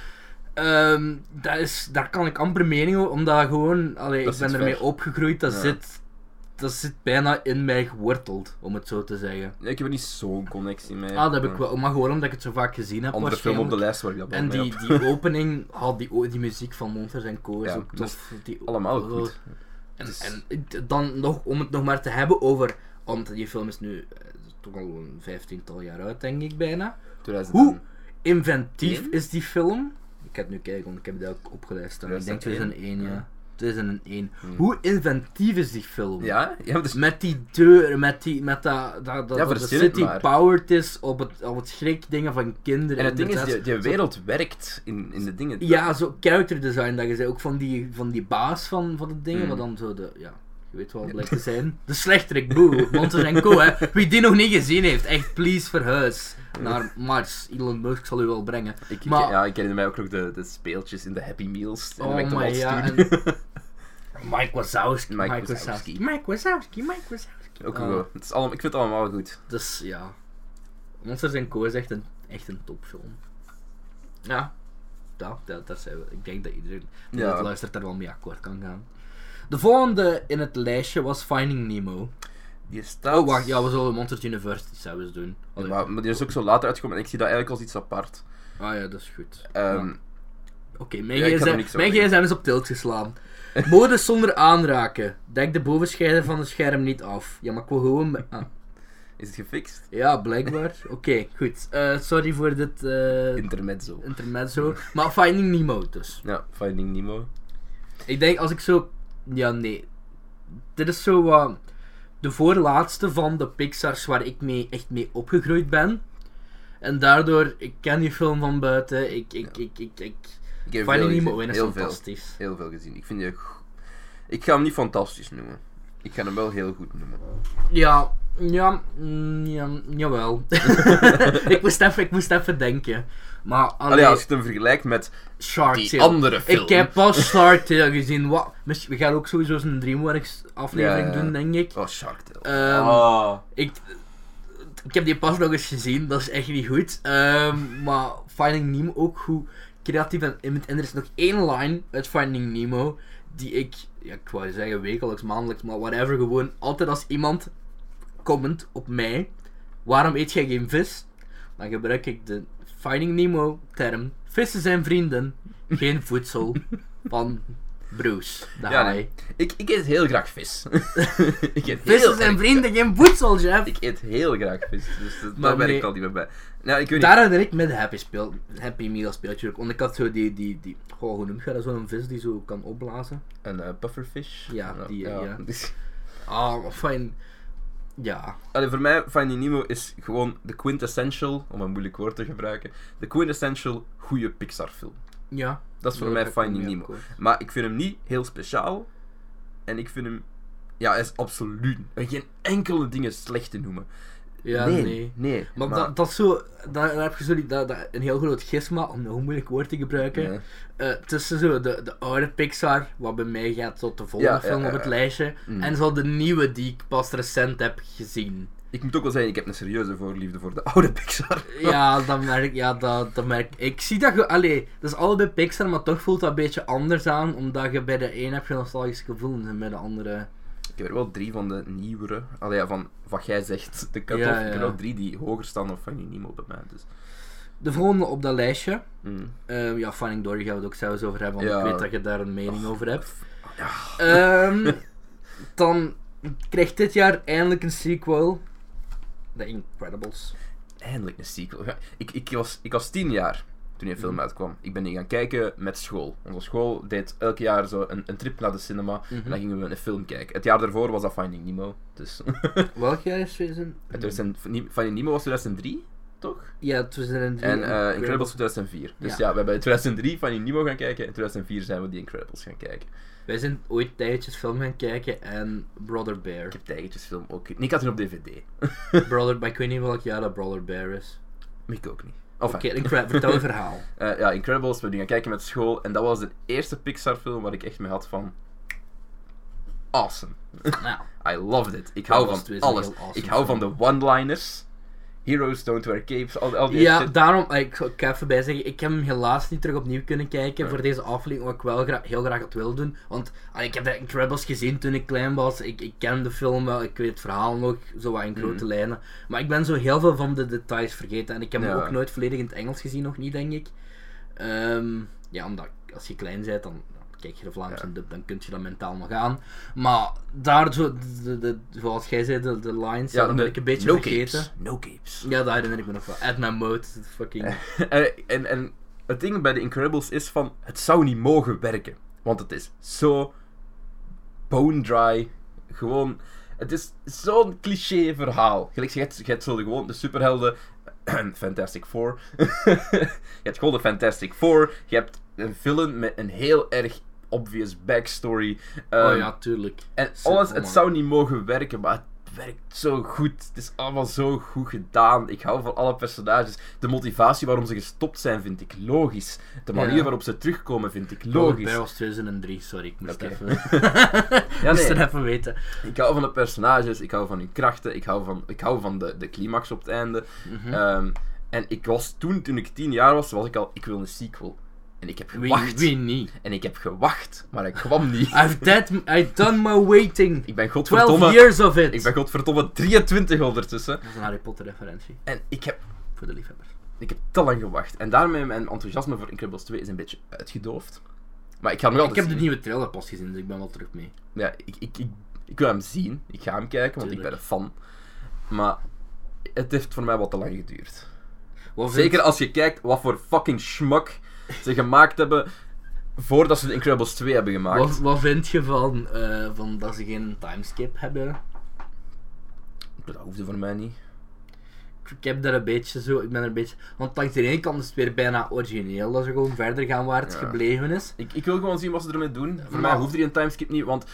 B: Ehm, dat is, daar kan ik amper mening over, omdat gewoon, allee,
A: Dat
B: ik
A: zit
B: ben ermee
A: ver.
B: opgegroeid, dat,
A: Ja.
B: zit, dat zit bijna in mij geworteld, om het zo te zeggen.
A: Ja, ik heb er niet zo'n connectie mee.
B: Ah, dat heb ik
A: Ja.
B: wel, maar gewoon omdat ik het zo vaak gezien heb.
A: Andere film op de
B: waarschijnlijk.
A: lijst waar ik dat wel
B: En
A: mee
B: die,
A: heb.
B: die
A: (laughs)
B: opening, had die, o- die muziek van Monsters en Co. is
A: Ja,
B: ook
A: dat is
B: tof. Die,
A: Allemaal
B: oh,
A: goed.
B: En,
A: Dus-
B: en het- dan nog, om het nog maar te hebben over, want die film is nu eh, toch al een vijftiental jaar uit, denk ik bijna.
A: 2000
B: Hoe inventief
A: Eén?
B: is die film? Ik heb nu kijken, want ik heb dat ook opgeleid staan. Ik denk
A: 2001,
B: 2001, ja.
A: ja.
B: 2001.
A: Hmm.
B: Hoe inventief is die film?
A: Ja, ja, maar dus,
B: Met die deur, met, die, met dat, dat, dat,
A: Ja,
B: dat de
A: verzin het
B: city
A: maar.
B: powered is op het, op het schrikdingen van kinderen.
A: en het ding is,
B: inderdaad.
A: die, die
B: Zo-
A: wereld werkt in, in de dingen.
B: Ja, zo character design, dat je zei, ook van die, van die baas van, van de dingen,
A: Mm.
B: wat dan zo de, ja, je weet wel wat blijkt te zijn. De slechterik, boe, Monsters en Co, hè.
A: (laughs)
B: Wie die nog niet gezien heeft, echt, please verhuis
A: (laughs)
B: naar Mars. Elon Musk zal u wel brengen.
A: Ik,
B: maar-
A: ik, ja, ik herinner mij ook nog de, de speeltjes in de Happy Meals. in de
B: Oh my,
A: McDonald's
B: ja,
A: toen. (laughs)
B: (laughs) Mike Wazowski,
A: Mike
B: Mike, Wazowski.
A: Wazowski.
B: Mike Wazowski, Mike Wazowski.
A: Ook
B: Ah.
A: wel. Het is allemaal, ik vind het allemaal goed.
B: Dus ja, Monsters en Co is echt een, echt een topfilm. Ja, dat, dat, dat zijn we. Ik denk dat iedereen die
A: Ja.
B: dit luistert daar wel mee akkoord kan gaan. De volgende in het lijstje was Finding Nemo.
A: Die staat...
B: Oh, wacht, ja, we zullen Monsters University zelfs doen.
A: Ja,
B: Allee.
A: Maar, maar die is ook zo later uitgekomen en ik zie dat eigenlijk als iets apart.
B: Ah ja, dat is goed.
A: Ehm,
B: Ja. Oké, mijn,
A: Ja, ik had er
B: gsm,
A: niks over
B: mijn gsm is op tilt geslaan. (laughs) Mode zonder aanraken. Dek de bovenschijder van het scherm niet af. Ja, maar ik wil
A: (laughs)
B: gewoon... me- ah.
A: Is het gefixt?
B: Ja, blijkbaar. Oké, goed. Eh, sorry voor dit... eh,
A: Intermezzo.
B: intermezzo. Maar Finding Nemo dus.
A: Ja, Finding Nemo.
B: Ik denk als ik zo... Ja, nee. Dit is zo wat... de voorlaatste van de Pixars waar ik mee, echt mee opgegroeid ben. En daardoor, ik ken die film van buiten. Ik, ik, ik, ik, ik...
A: Ik heb
B: Finding
A: veel
B: Nemo
A: gezien.
B: 1 is
A: heel veel,
B: fantastisch.
A: heel veel gezien. Ik vind die... go- Ik ga hem niet fantastisch noemen. Ik ga hem wel heel goed noemen.
B: Ah, Ja, ja, mm, ja
A: (laughs)
B: jawel. ik, moest even, ik moest even denken. Maar
A: Allee,
B: alleen
A: als je het hem vergelijkt met
B: Shark
A: die
B: Tale.
A: andere film.
B: Ik heb pas Shark Tale gezien. Wat? Misschien, we gaan ook sowieso eens een DreamWorks aflevering
A: Ja, ja.
B: doen, denk ik.
A: Oh, Shark Tale.
B: Ehm,
A: oh.
B: Ik, ik heb die pas nog eens gezien, dat is echt niet goed. Ehm, maar Finding Nemo ook goed creatief en in- En er is nog één line uit Finding Nemo die ik, ja, ik wou zeggen wekelijks, maandelijks, maar whatever, gewoon altijd als iemand comment op mij: waarom eet jij geen vis? Dan gebruik ik de Finding Nemo term: vissen zijn vrienden, geen
A: (laughs)
B: voedsel van Bruce. De
A: Ja,
B: haai.
A: nee. Ik, ik eet heel graag vis. (laughs) ik eet heel
B: Vissen zijn
A: erg-
B: vrienden, geen voedsel, Jeff!
A: Ik eet heel graag vis, dus dat,
B: Maar
A: daar ben
B: nee.
A: ik al niet meer bij. Nou, ik weet niet.
B: Daar herinner ik me de Happy, speel, happy Meal speeltje ook. Want ik had zo die, die, die goh, hoe noem je dat, zo'n vis die zo kan opblazen.
A: Een eh, pufferfish.
B: Ja, die, eh, ja.
A: (laughs) Dus-
B: Ah, maar fijn. Ja.
A: Allee, voor mij, Finding Nemo is gewoon de quintessential, om een moeilijk woord te gebruiken, de quintessential goede Pixar film.
B: Ja.
A: Dat is voor
B: Ja,
A: mij
B: daar kom
A: Finding
B: je
A: Nemo.
B: akkoord.
A: Maar ik vind hem niet heel speciaal. En ik vind hem... Ja, hij is absoluut... er Geen enkele dingen slecht te noemen.
B: Ja, nee.
A: nee. nee,
B: Maar, Dat, dat is zo, daar daar heb je zo die, dat, dat, een heel groot gisma, om een moeilijk woord te gebruiken.
A: Ja.
B: eh, tussen zo de, de oude Pixar, wat bij mij gaat tot de volgende
A: Ja, ja,
B: film
A: ja,
B: op het
A: ja.
B: lijstje, en zo de nieuwe die ik pas recent heb gezien.
A: Ik moet ook wel zeggen, ik heb een serieuze voorliefde voor de (laughs) oude Pixar.
B: Ja, dat merk, ja dat, dat merk ik. Ik zie dat je, allee, dat is allebei Pixar, maar toch voelt dat een beetje anders aan, omdat je bij de een heb je nostalgische gevoelens en bij de andere...
A: Ik heb er wel drie van de nieuwere. Allee, ja, van wat jij zegt, de cut-off.
B: Ja,
A: Ik
B: ja.
A: heb wel drie die hoger staan dan Finding Nemo bij mij. Dus.
B: De volgende op dat lijstje,
A: Mm.
B: ehm, ja, Finding Dory gaan we het ook zelfs over hebben, want
A: Ja.
B: ik weet dat je daar een mening over hebt.
A: Ja.
B: Ehm, dan krijgt dit jaar eindelijk een sequel. The Incredibles.
A: Eindelijk een sequel. Ja, Ik, ik, was, ik was tien jaar toen die film
B: Mhm.
A: uitkwam. Ik ben die gaan kijken met school. Onze school deed elk jaar zo een, een trip naar de cinema. En
B: Mhm.
A: dan gingen we een film kijken. Het jaar daarvoor was dat Finding Nemo.
B: (laughs)
A: Dus.
B: Welk jaar is 2000?
A: Het 2000 Finding Nemo was 2003, toch?
B: Ja, 2003.
A: En eh Incredibles 2004. Dus
B: Ja.
A: ja. we hebben in 2003 Finding Nemo gaan kijken. En in 2004 zijn we die Incredibles gaan kijken.
B: Wij zijn ooit tijdjes film gaan kijken en Brother Bear.
A: Ik heb tijgertjesfilm ook... Nee, ik had die op DVD.
B: Brother, maar ik weet niet welk jaar dat Brother Bear is.
A: (laughs) Maar ik ook niet. Of
B: Oké, Incre- vertel het verhaal.
A: Eh, ja, Incredibles, we gingen kijken met school. En dat was de eerste Pixar-film waar ik echt mee had van. Awesome.
B: Nou,
A: I loved it. Ik
B: was
A: hou
B: het weer
A: van
B: een
A: alles.
B: heel awesome
A: ik hou van de one-liners. Heroes don't wear capes. Al, al die
B: ja,
A: shit.
B: daarom, eh, ik ga ik ga even bij zeggen, ik heb hem helaas niet terug opnieuw kunnen kijken
A: Ja.
B: voor deze aflevering, wat ik wel gra- heel graag had willen doen. Want ah, ik heb de Incredibles gezien toen ik klein was, ik, ik ken de film wel, ik weet het verhaal nog, zo wat in
A: Mhm.
B: grote lijnen. Maar ik ben zo heel veel van de details vergeten en ik heb hem
A: Ja.
B: ook nooit volledig in het Engels gezien, nog niet, denk ik. Ehm, ja, omdat als je klein bent, dan dan kijk je de Vlaamse
A: Ja.
B: dub, dan kun je dat mentaal nog aan. Maar daar, zo, de, de, zoals jij zei, de, de lines, ja,
A: Ja,
B: dat
A: de-
B: ben ik een beetje
A: no
B: vergeten.
A: Capes. No capes.
B: Ja, dat herinner ik me nog wel. At my mode, fucking...
A: Eh, (laughs) en, en, en het ding bij de Incredibles is van. Het zou niet mogen werken. Want het is zo. bone dry. Gewoon. Het is zo'n cliché verhaal. Gelijk, je hebt, je hebt zo de, gewoon de superhelden. (clears throat) Fantastic Four. (laughs) je hebt gewoon de Fantastic Four. Je hebt een villain met een heel erg obvious backstory.
B: Oh
A: Ehm,
B: ja, tuurlijk.
A: En
B: Zo,
A: alles,
B: oh
A: het
B: man.
A: zou niet mogen werken, maar het werkt zo goed. Het is allemaal zo goed gedaan. Ik hou van alle personages. De motivatie waarom ze gestopt zijn, vind ik logisch. De manier
B: Ja.
A: waarop ze terugkomen, vind ik
B: Logisch.
A: logisch.
B: Bear was 2003, sorry, ik moest
A: Oké. (laughs)
B: even... (laughs)
A: Ja,
B: moest (laughs)
A: nee.
B: het even weten.
A: Ik hou van de personages, ik hou van hun krachten, ik hou van, ik hou van de, de climax op het einde.
B: Mhm.
A: Ehm, en ik was toen, toen ik tien jaar was, was ik al, ik wil een sequel. En ik heb
B: Wie,
A: gewacht.
B: wie niet?
A: En ik heb gewacht, maar hij kwam
B: (laughs)
A: niet.
B: I've, dead, I've done my waiting.
A: Ik ben
B: 12
A: godverdomme...
B: years of it.
A: Ik ben godverdomme 23 ondertussen.
B: Dat is een Harry Potter referentie,
A: En ik heb
B: voor de liefhebbers.
A: Ik heb te lang gewacht. En daarmee mijn enthousiasme voor Incredibles 2 is een beetje uitgedoofd. Maar ik ga hem wel
B: Ik heb de
A: zien.
B: nieuwe trailer pas gezien, dus ik ben wel terug mee.
A: Ja, ik, ik, ik, ik wil hem zien. Ik ga hem kijken, want ik ben
B: Tuurlijk.
A: een fan. Maar het heeft voor mij wat te lang geduurd.
B: Wat vind-
A: Zeker als je kijkt wat voor fucking schmuck ze gemaakt hebben voordat ze de Incredibles 2 hebben gemaakt.
B: Wat, wat vind je van, eh, van dat ze geen timeskip hebben?
A: Dat hoefde voor mij niet.
B: Ik heb daar een beetje zo, ik ben er een beetje... Want langs de ene kant is het weer bijna origineel, dat ze gewoon verder gaan waar het
A: Ja.
B: gebleven is.
A: Ik, ik wil gewoon zien wat ze ermee doen. Voor mij
B: Maar-
A: hoeft er een timeskip niet, want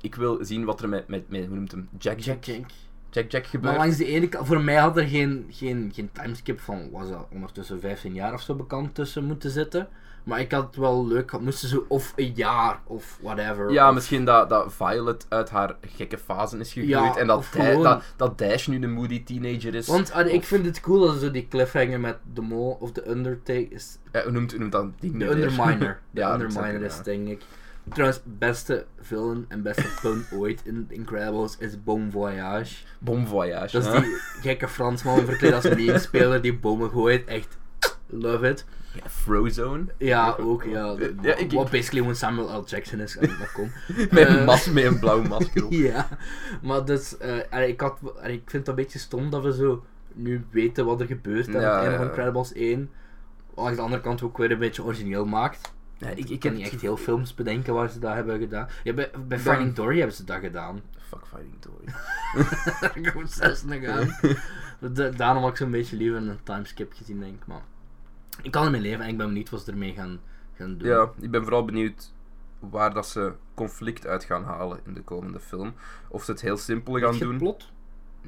A: ik wil zien wat er met, met, met hoe noemt hem? Jack Jack?
B: Jack.
A: Jack Jack
B: Maar
A: gebeurt.
B: langs de ene kant, voor mij had er geen, geen, geen timeskip van, was dat ondertussen 15 jaar of zo bekend tussen moeten zitten. Maar ik had het wel leuk, gehad. moesten ze of een jaar of whatever.
A: Ja,
B: of-
A: misschien dat, dat Violet uit haar gekke fase is gegroeid.
B: Ja,
A: en dat,
B: of
A: Da-
B: gewoon-
A: dat, dat Dash nu de moody teenager is.
B: Want allee, ik
A: Of-
B: vind het cool dat ze zo die cliffhanger met de mol of de Undertaker is.
A: Ja, Eh, hoe noemt, hoe noemt dat ding
B: De
A: nu weer? (laughs)
B: Underminer. De
A: Ja, dat
B: Underminer
A: zou
B: is
A: kunnen,
B: denk ik. Trouwens, beste villain en beste pun ooit in Incredibles is Bon Voyage.
A: Bon voyage.
B: Dat is
A: hè?
B: die gekke Fransman verkleed als meespeler die bomen gooit. Echt, love it.
A: Ja, Frozone.
B: Ja, ook, ja.
A: Eh, ja, ik-
B: Wat
A: ik-
B: basically gewoon Samuel L. Jackson is, en dat
A: (laughs)
B: komt.
A: Met,
B: (laughs) Eh.
A: een mas, met een blauw
B: (laughs)
A: masker op.
B: ja, maar dus, eh, allee, ik, had, allee, ik vind het een beetje stom dat we zo nu weten wat er gebeurt aan
A: Ja,
B: het einde van
A: ja.
B: Incredibles 1. Wat aan de andere kant ook weer een beetje origineel maakt.
A: Ja, ik,
B: Ik
A: ik
B: kan
A: heb
B: niet echt
A: het-
B: heel films bedenken waar ze dat hebben gedaan. Ja, bij, bij Finding Dory hebben ze dat gedaan. (laughs)
A: Fuck Fighting Toy.
B: Daar komt zes nog
A: (laughs)
B: aan. Da- Daarom had ik zo'n beetje liever een timeskip gezien, denk ik. Maar ik kan ermee leven en ik ben benieuwd wat ze ermee gaan, gaan doen.
A: Ja, ik ben vooral benieuwd waar dat ze conflict uit gaan halen in de komende film. Of ze het heel simpel gaan
B: Is het
A: doen.
B: plot?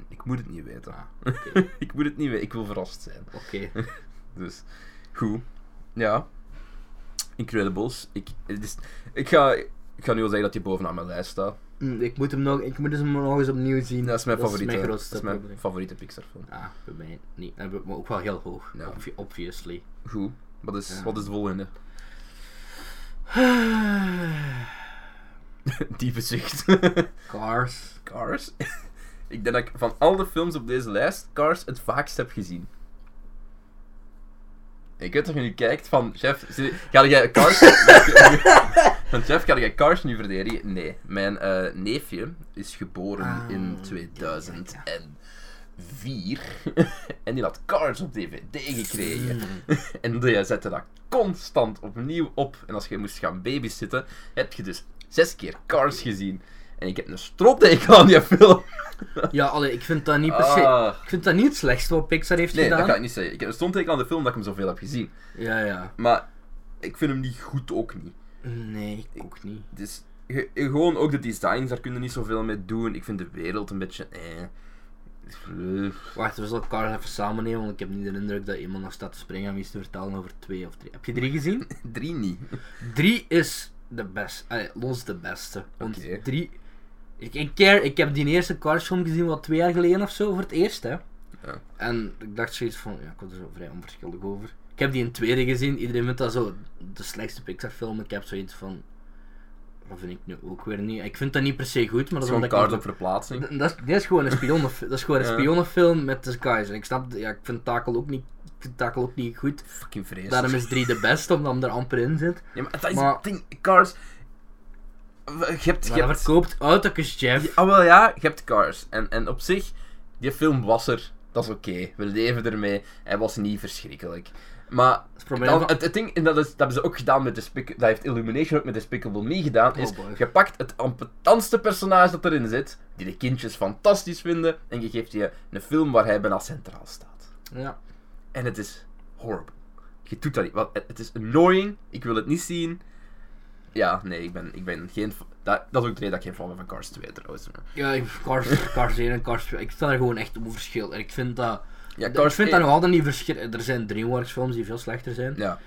A: Ik moet het niet weten.
B: Ah,
A: (laughs) ik moet het niet weten. Ik wil verrast zijn.
B: Oké.
A: Dus, goed. Ja. Incredibles. Ik, het is- ik, ga, ik ga nu al zeggen dat die bovenaan mijn lijst staat.
B: Hm, ik, moet hem nog, ik moet dus hem nog eens opnieuw zien.
A: Dat is mijn favoriete,
B: Is mijn
A: dat
B: grootste
A: is mijn
B: probleem.
A: favoriete Pixar film.
B: Ah, bij mij niet. En bij- Maar ook wel heel hoog.
A: Ja.
B: obvi- obviously.
A: Goed. Wat is,
B: Ja.
A: wat is de volgende? (laughs) Diepe zucht.
B: (sighs) Cars.
A: (laughs) Cars? (laughs) ik denk dat ik van al de films op deze lijst Cars het vaakst heb gezien. Ik weet dat je nu kijkt van, chef, zie- ga jij
B: (laughs)
A: Cars... van, chef, ga jij Cars nu verdedigen? Nee. Mijn eh, neefje is geboren
B: Ah,
A: in
B: ja,
A: 2004. en die had Cars op DVD gekregen. En die zette dat constant opnieuw op. En als je moest gaan babysitten, heb je dus zes keer Cars gezien. En ik heb een strooptekel aan die film.
B: Ja, allee, ik vind dat niet per se...
A: Ah.
B: Ik vind dat niet het slechtste wat Pixar heeft
A: Nee, dat
B: gedaan.
A: ga ik niet zeggen. Ik heb een strooptekel aan de film dat ik hem zoveel heb gezien.
B: Ja, ja.
A: Maar ik vind hem niet goed ook niet.
B: Nee, ik ook niet.
A: Dus ge- gewoon ook de designs, daar kunnen niet zoveel mee doen. Ik vind de wereld een beetje. Eh. (laughs) Eh,
B: Wacht, we zullen Cars even samen nemen, want ik heb niet de indruk dat iemand nog staat te springen om iets te vertellen over twee of drie. Heb je drie gezien?
A: Drie niet.
B: drie is de beste. Allee, los de beste. Want
A: Oké.
B: drie... Ik, ik, care, ik heb die eerste Cars film gezien wat twee jaar geleden of zo, voor het eerst, hè.
A: Ja.
B: En ik dacht zoiets van, ja, ik was er zo vrij onverschillig over. Ik heb die in tweede gezien, iedereen vindt dat zo de slechtste Pixar film. Ik heb zoiets van, dat vind ik nu ook weer niet. Ik vind dat niet per se goed, maar
A: Dat
B: dat
A: is
B: is
A: gewoon
B: omdat ik...
A: kaart
B: nog-
A: op verplaatsing.
B: D- (laughs) Dat is, dit is gewoon een
A: (laughs)
B: spionnenf- dat is gewoon een
A: Ja.
B: spionnenfilm met de guys. En ik snap, ja, ik vind Takel ook niet, ik vind Takel ook niet goed.
A: Fucking vreselijk.
B: Daarom is 3 de beste, omdat hem er amper in zit.
A: Ja, maar dat is
B: Maar-
A: het ding. Cars. Je hebt. Je
B: Maar dat
A: hebt...
B: verkoopt auto's, Jeff.
A: Ah, wel ja, je hebt Cars. En, en op zich, die film was er. Dat is oké. We leven ermee. Hij was niet verschrikkelijk. Maar
B: Het
A: dan-
B: probleem
A: het,
B: van-
A: het ding, en dat, is, dat hebben ze ook gedaan met Despic- dat heeft Illumination ook met Despicable Me gedaan,
B: Oh
A: is
B: boy.
A: je pakt het ampetantste personage dat erin zit, die de kindjes fantastisch vinden, en je geeft je een film waar hij bijna centraal staat.
B: Ja.
A: En het is horrible. Je doet dat niet. Wat, het, het is annoying. Ik wil het niet zien. Ja, nee, ik ben, ik ben geen... fa- Dat, dat is ook de reden dat ik geen fan ben van Cars 2 trouwens. maar-
B: Ja, ik- Cars, Cars 1 en Cars 2, ik sta er gewoon echt op verschil. En ik vind dat...
A: Ja,
B: ik vind dat
A: één-
B: nog altijd niet verschil... Er zijn DreamWorks films die veel slechter zijn.
A: Ja.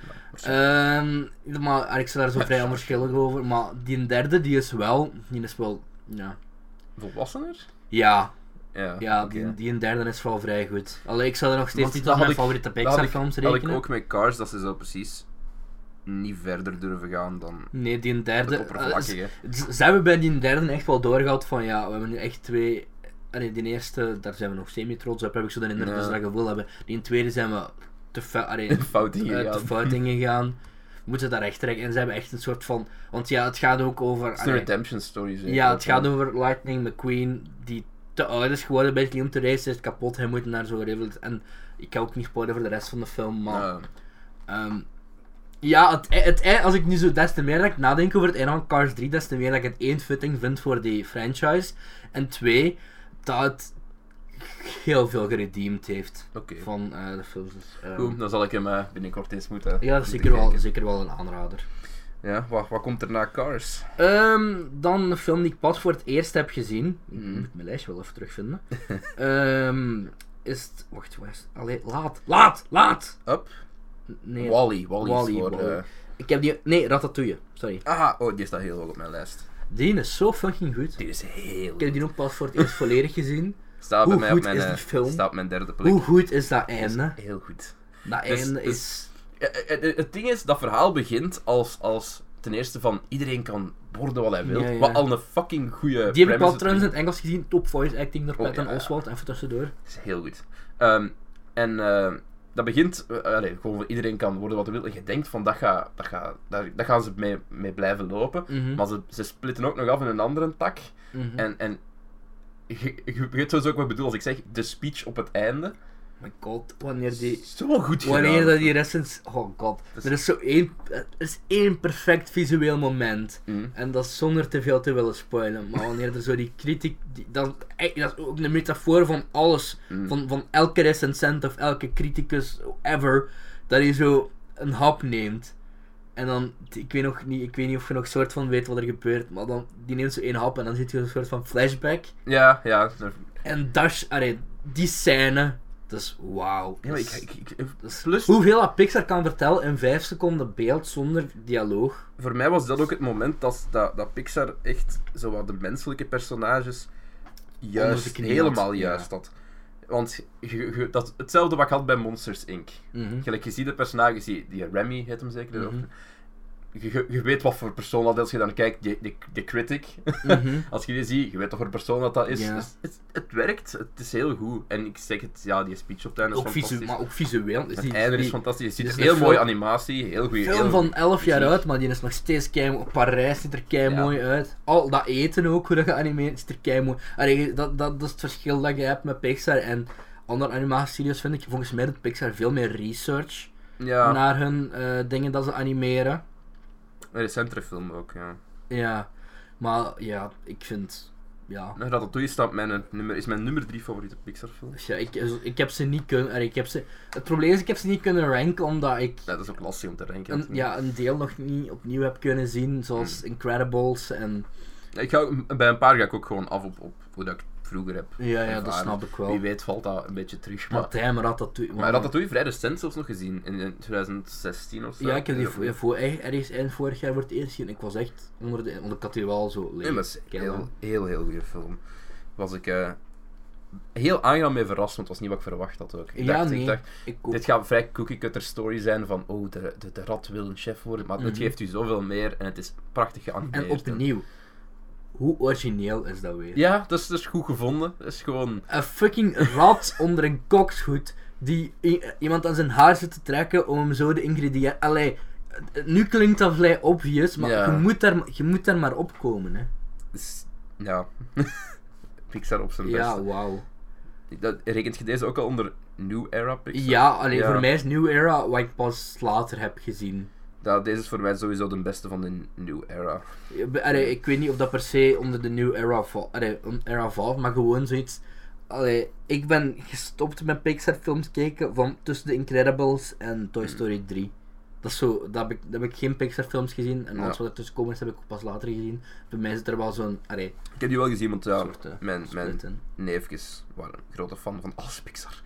B: Ehm, maar en ik sta daar zo vrij onverschillig over. Maar die derde, die is wel... Die is wel... Ja.
A: Volwassener?
B: Ja,
A: Ja,
B: Ja,
A: oké.
B: die, die een derde is vooral vrij goed. Allee, ik zou er nog steeds
A: Want
B: niet
A: dat
B: tot
A: had
B: mijn
A: ik-
B: favoriete
A: Dat had ik-
B: Pixar-films
A: had ik
B: rekenen.
A: ook met Cars, dat ze zo precies niet verder durven gaan dan
B: Nee, die een
A: het
B: derde... eh,
A: oppervlakkige.
B: z- ze hebben bij die derde echt wel doorgehad van, ja, we hebben nu echt twee... ah, Nee, die eerste, daar zijn we nog semi-trots op, heb ik zo de indruk
A: Ja.
B: dat ze dat gevoel hebben. Die tweede zijn we te, fa- allee,
A: (laughs) fout hier.
B: eh, te fout ingegaan. We moeten daar echt trekken. En ze hebben echt een soort van... Want ja, het gaat ook over...
A: Het is een
B: allee,
A: redemption story, zeker.
B: Ja, het gaat over Lightning McQueen, die te oud is geworden bij om te racen, is kapot, hij moet naar zo'n level. En ik kan ook niet spoilen voor de rest van de film, maar...
A: Ja.
B: ehm, ja, het, ei- het, ei- als ik nu zo des te meer dat ik nadenk over het einde van Cars 3, des te meer dat ik het één fitting vind voor die franchise. En twee, dat het heel veel geredeemd heeft
A: Oké.
B: van eh, de films. Dus, ehm,
A: Goed, dan zal ik hem eh, binnenkort eens moeten.
B: ja, dat
A: moeten
B: is zeker wel,
A: kijken.
B: zeker wel een aanrader.
A: Ja, wat, wat komt er na Cars?
B: Ehm, dan een film die ik pas voor het eerst heb gezien.
A: Mhm.
B: Ik moet mijn lijstje wel even terugvinden. (laughs) Ehm, is het. Wacht, waar is het? Allee, laat, laat, laat!
A: Up?
B: Nee.
A: Wally. Wally,
B: Wall-E,
A: is voor...
B: Wall-E.
A: eh,
B: Ik heb die. Nee, Ratatouille, sorry.
A: Ah, oh, die staat heel hoog op mijn lijst.
B: Die is zo fucking goed.
A: Die is heel...
B: Ik heb die ook pas voor het eerst volledig gezien.
A: Staat bij
B: Hoe
A: mij op
B: goed
A: mijn,
B: is
A: eh,
B: die film?
A: Staat op mijn derde plek.
B: Hoe goed is dat einde?
A: Heel goed.
B: Dat
A: Dus-
B: einde
A: dus-
B: is.
A: Ja, het, het- het ding is, dat verhaal begint als, als ten eerste van iedereen kan worden wat hij wil.
B: Ja, ja.
A: Wat al een fucking goede
B: Die heb ik
A: premise
B: al
A: is.
B: trouwens in het Engels gezien. Top voice acting door
A: Oh,
B: Patton
A: ja, ja.
B: Oswald. Even tussendoor.
A: Dat is heel goed. Ehm, en eh, dat begint, eh, allee, gewoon voor iedereen kan worden wat hij wil. En je denkt van, dat ga, dat ga, daar, daar gaan ze mee, mee blijven lopen.
B: Mhm,
A: Maar ze, ze splitten ook nog af in een andere tak.
B: mhm.
A: En, en je, je weet sowieso ook wat ik bedoel als ik zeg, de speech op het einde.
B: Oh My god, wanneer die.
A: Zo goed gedaan.
B: Wanneer dat die recens... Oh god.
A: Dus-
B: Er is zo één... Er is één perfect visueel moment.
A: Mhm.
B: En dat is zonder te veel te willen spoilen. Maar wanneer er zo die kritiek... Die, dat, eh, dat is ook een metafoor van alles.
A: Mm.
B: Van, van elke recensent of elke criticus ever. Dat hij zo een hap neemt. En dan... Ik weet, nog niet, ik weet niet of je nog soort van weet wat er gebeurt. Maar dan... Die neemt zo één hap en dan zit je een soort van flashback.
A: Ja, ja.
B: En dat... is- Allee, die scène... Dus wauw.
A: Ja, maar ik,
B: Dus-
A: ik, ik,
B: dat is-
A: plus,
B: Hoeveel dat Pixar kan vertellen in 5 seconden beeld zonder dialoog.
A: voor mij was dat ook het moment dat, dat, dat Pixar echt zowat de menselijke personages
B: de
A: juist,
B: knie had,
A: helemaal
B: ja.
A: juist had. Want je- je- dat, hetzelfde wat ik had bij Monsters Inc.
B: Mhm.
A: Gelijk, je ziet de personages, die, die Remy heet hem zeker. of-
B: Mhm.
A: je, je- je weet wat voor persoon dat is, als je dan kijkt, die, die, die critic. (laughs)
B: Mhm.
A: Als je die ziet, je weet wat voor persoon dat, dat is.
B: Ja.
A: Dus het, het werkt, het is heel goed. En ik zeg het, ja, die speech op tuin is
B: Ook visu-
A: fantastisch.
B: maar ook visueel. Dus
A: Het
B: die-
A: einde is
B: die-
A: fantastisch. Je ziet
B: dit is
A: een heel
B: een
A: mooie
B: film-
A: animatie, heel goede
B: film van 11 jaar
A: muziek.
B: uit, maar die is nog steeds kei Op Parijs ziet er kei
A: Ja.
B: mooi uit. Al dat eten ook, hoe dat geanimeerd ziet er kei mooi Allee, dat, dat, dat is het verschil dat je hebt met Pixar en andere animatiestudios, vind ik. Volgens mij doet Pixar veel meer research
A: Ja,
B: naar hun eh, dingen dat ze animeren.
A: een recentere film ook, ja.
B: Ja, maar ja, ik vind. Ja.
A: Nog dat toe staat mijn nummer, is mijn nummer drie favoriete Pixar film.
B: Dus ja, ik, ik heb ze niet kunnen. allee, Ik heb ze, het probleem is, ik heb ze niet kunnen ranken omdat ik
A: Ja, dat is ook lastig om te ranken.
B: een,
A: natuurlijk.
B: ja, een deel nog niet Hmm. opnieuw heb kunnen zien, zoals Incredibles en.
A: Ik ga ook, bij een paar ga ik ook gewoon af op, op hoe dat ik het vroeger heb.
B: Ja, ja dat
A: ervaren.
B: snap ik wel.
A: Wie weet valt dat een beetje terug. Maar,
B: Maar hij maar Ratatouille.
A: maar
B: man.
A: Ratatouille vrij recent zelfs nog gezien, in in 2016 of zo.
B: Ja, ik heb die
A: eh, Ja.
B: voor, voor, echt ergens eind vorig jaar voor het eerst gezien. Ik was echt onder de... Want ik had die wel zo leeg.
A: Nee, maar het is een
B: Kijk,
A: heel,
B: man.
A: heel, heel goede film. Was ik eh, heel aangenaam mee verrast, want het was niet wat ik verwacht had ook. Ik
B: Ja,
A: dacht,
B: nee.
A: ik dacht,
B: Ik ook.
A: dit gaat een vrij cookie-cutter story zijn van, oh, de, de, de rat wil een chef worden, maar het
B: Mhm.
A: geeft u zoveel meer en het is prachtig geanimeerd.
B: En opnieuw. Hoe origineel is dat weer?
A: Ja, dat is, dat is goed gevonden. Dat is gewoon...
B: Een fucking rat (laughs) onder een koksgoed die i- iemand aan zijn haar zit te trekken om hem zo de ingrediënten... Allee, eh, nu klinkt dat vrij obvious, maar
A: Ja.
B: je, moet daar, je moet daar maar opkomen, hè.
A: is- ja... (laughs) Pixar op zijn best.
B: Ja, wauw.
A: Dat, rekent je deze ook al onder New Era Pixar?
B: Ja, alleen
A: Ja.
B: voor mij is New Era wat ik pas later heb gezien.
A: Dat, deze is voor mij sowieso de beste van de New Era.
B: Ja, be- Allee, ik weet niet of dat per se onder de New Era valt, allee, on- era valt maar gewoon zoiets. Allee, ik ben gestopt met Pixar-films kijken van tussen de Incredibles en Toy Story 3. Dat is zo, dat heb ik, dat heb ik geen Pixar-films gezien en alles
A: Ja.
B: wat er tussen komen is heb ik pas later gezien. Bij mij zit er wel zo'n allee,
A: Ik heb die wel gezien, want ja,
B: soort eh,
A: mijn, mijn
B: split in.
A: neefjes waren een grote fan van alles Pixar.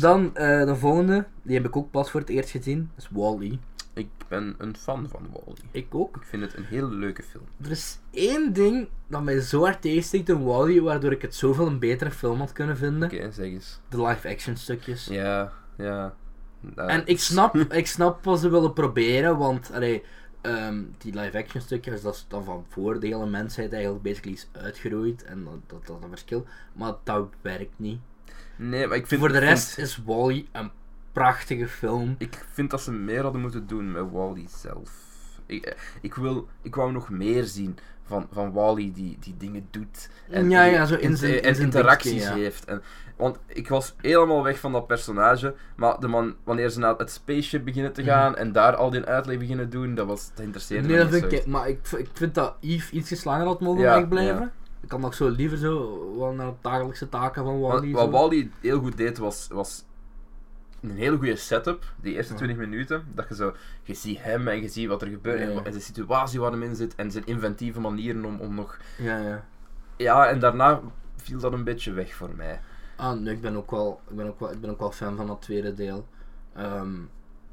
B: Dan eh, de volgende, die heb ik ook pas voor het eerst gezien, dat is Wall-E.
A: Ik ben een fan van Wally.
B: Ik ook.
A: Ik vind het een heel leuke film.
B: Er is één ding dat mij zo hard tegensteekt in Wall-E, waardoor ik het zoveel een betere film had kunnen vinden.
A: Oké, zeg eens.
B: de live-action stukjes.
A: Ja, ja. Ja.
B: En ik
A: (laughs)
B: snap, ik snap wat ze willen proberen, want allee, ehm, die live-action stukjes, dat is dan van voor de hele mensheid eigenlijk basically is uitgeroeid. En dat, dat, dat is een verschil. Maar dat werkt niet.
A: Nee, maar ik vind...
B: voor de
A: ik
B: rest
A: vind-
B: is Wally een prachtige film.
A: Ik vind dat ze meer hadden moeten doen met Wally zelf. Ik, eh, ik, wil, ik wou nog meer zien van, van Wally die, die dingen doet.
B: Ja,
A: die
B: ja, zo in
A: inter-
B: zijn- in
A: en
B: zijn
A: interacties
B: dingetje, ja.
A: heeft. En, want ik was helemaal weg van dat personage. Maar de man, wanneer ze naar het spaceship beginnen te gaan en daar al die uitleg beginnen doen, dat, was, dat interesseerde
B: Mhm. nee,
A: me
B: dat
A: niet
B: vind ik,
A: zo.
B: maar ik, v- ik vind dat Yves iets langer had mogen
A: Ja,
B: wegblijven.
A: ja.
B: Ik kan nog zo liever zo wel naar de dagelijkse taken van
A: Wat,
B: Wally.
A: wat Wally heel goed deed was, was een hele goede setup, die eerste
B: Ja.
A: 20 minuten. Dat je zo, je ziet hem en je ziet wat er gebeurt
B: Ja,
A: en,
B: ja.
A: wa- en de situatie waar hem in zit en zijn inventieve manieren om, om nog.
B: Ja, ja.
A: Ja, en daarna viel dat een beetje weg voor mij.
B: Ah, nee, ik ben ook wel, ik ben ook wel, ik ben ook wel fan van dat tweede deel. Ehm,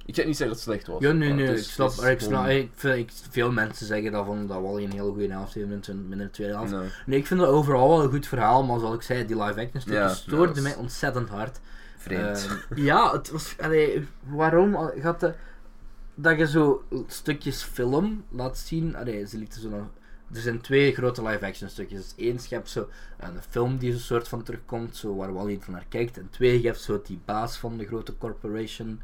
A: Ik zeg niet zeggen dat het slecht was.
B: Ja, nee,
A: maar
B: nee,
A: het
B: ik
A: is-
B: snap.
A: het is
B: Ik snap
A: gewoon-
B: ik vind, ik, veel mensen zeggen dat, van, dat Wally een heel goede helft heeft in zijn- in de tweede helft.
A: Nee.
B: Nee, ik vind dat overal wel een goed verhaal, maar zoals ik zei, die live-action stukjes
A: Ja,
B: stoorden
A: dat is-
B: mij ontzettend hard.
A: Vreemd.
B: Ehm, ja, het was, allee, waarom al- gaat de, dat je zo stukjes film laat zien? Allee, ze lieten zo nog- er zijn twee grote live-action stukjes. Dus één, je hebt zo een film die zo'n soort van terugkomt, zo waar Wally van naar kijkt. En twee, je hebt zo die baas van de grote corporation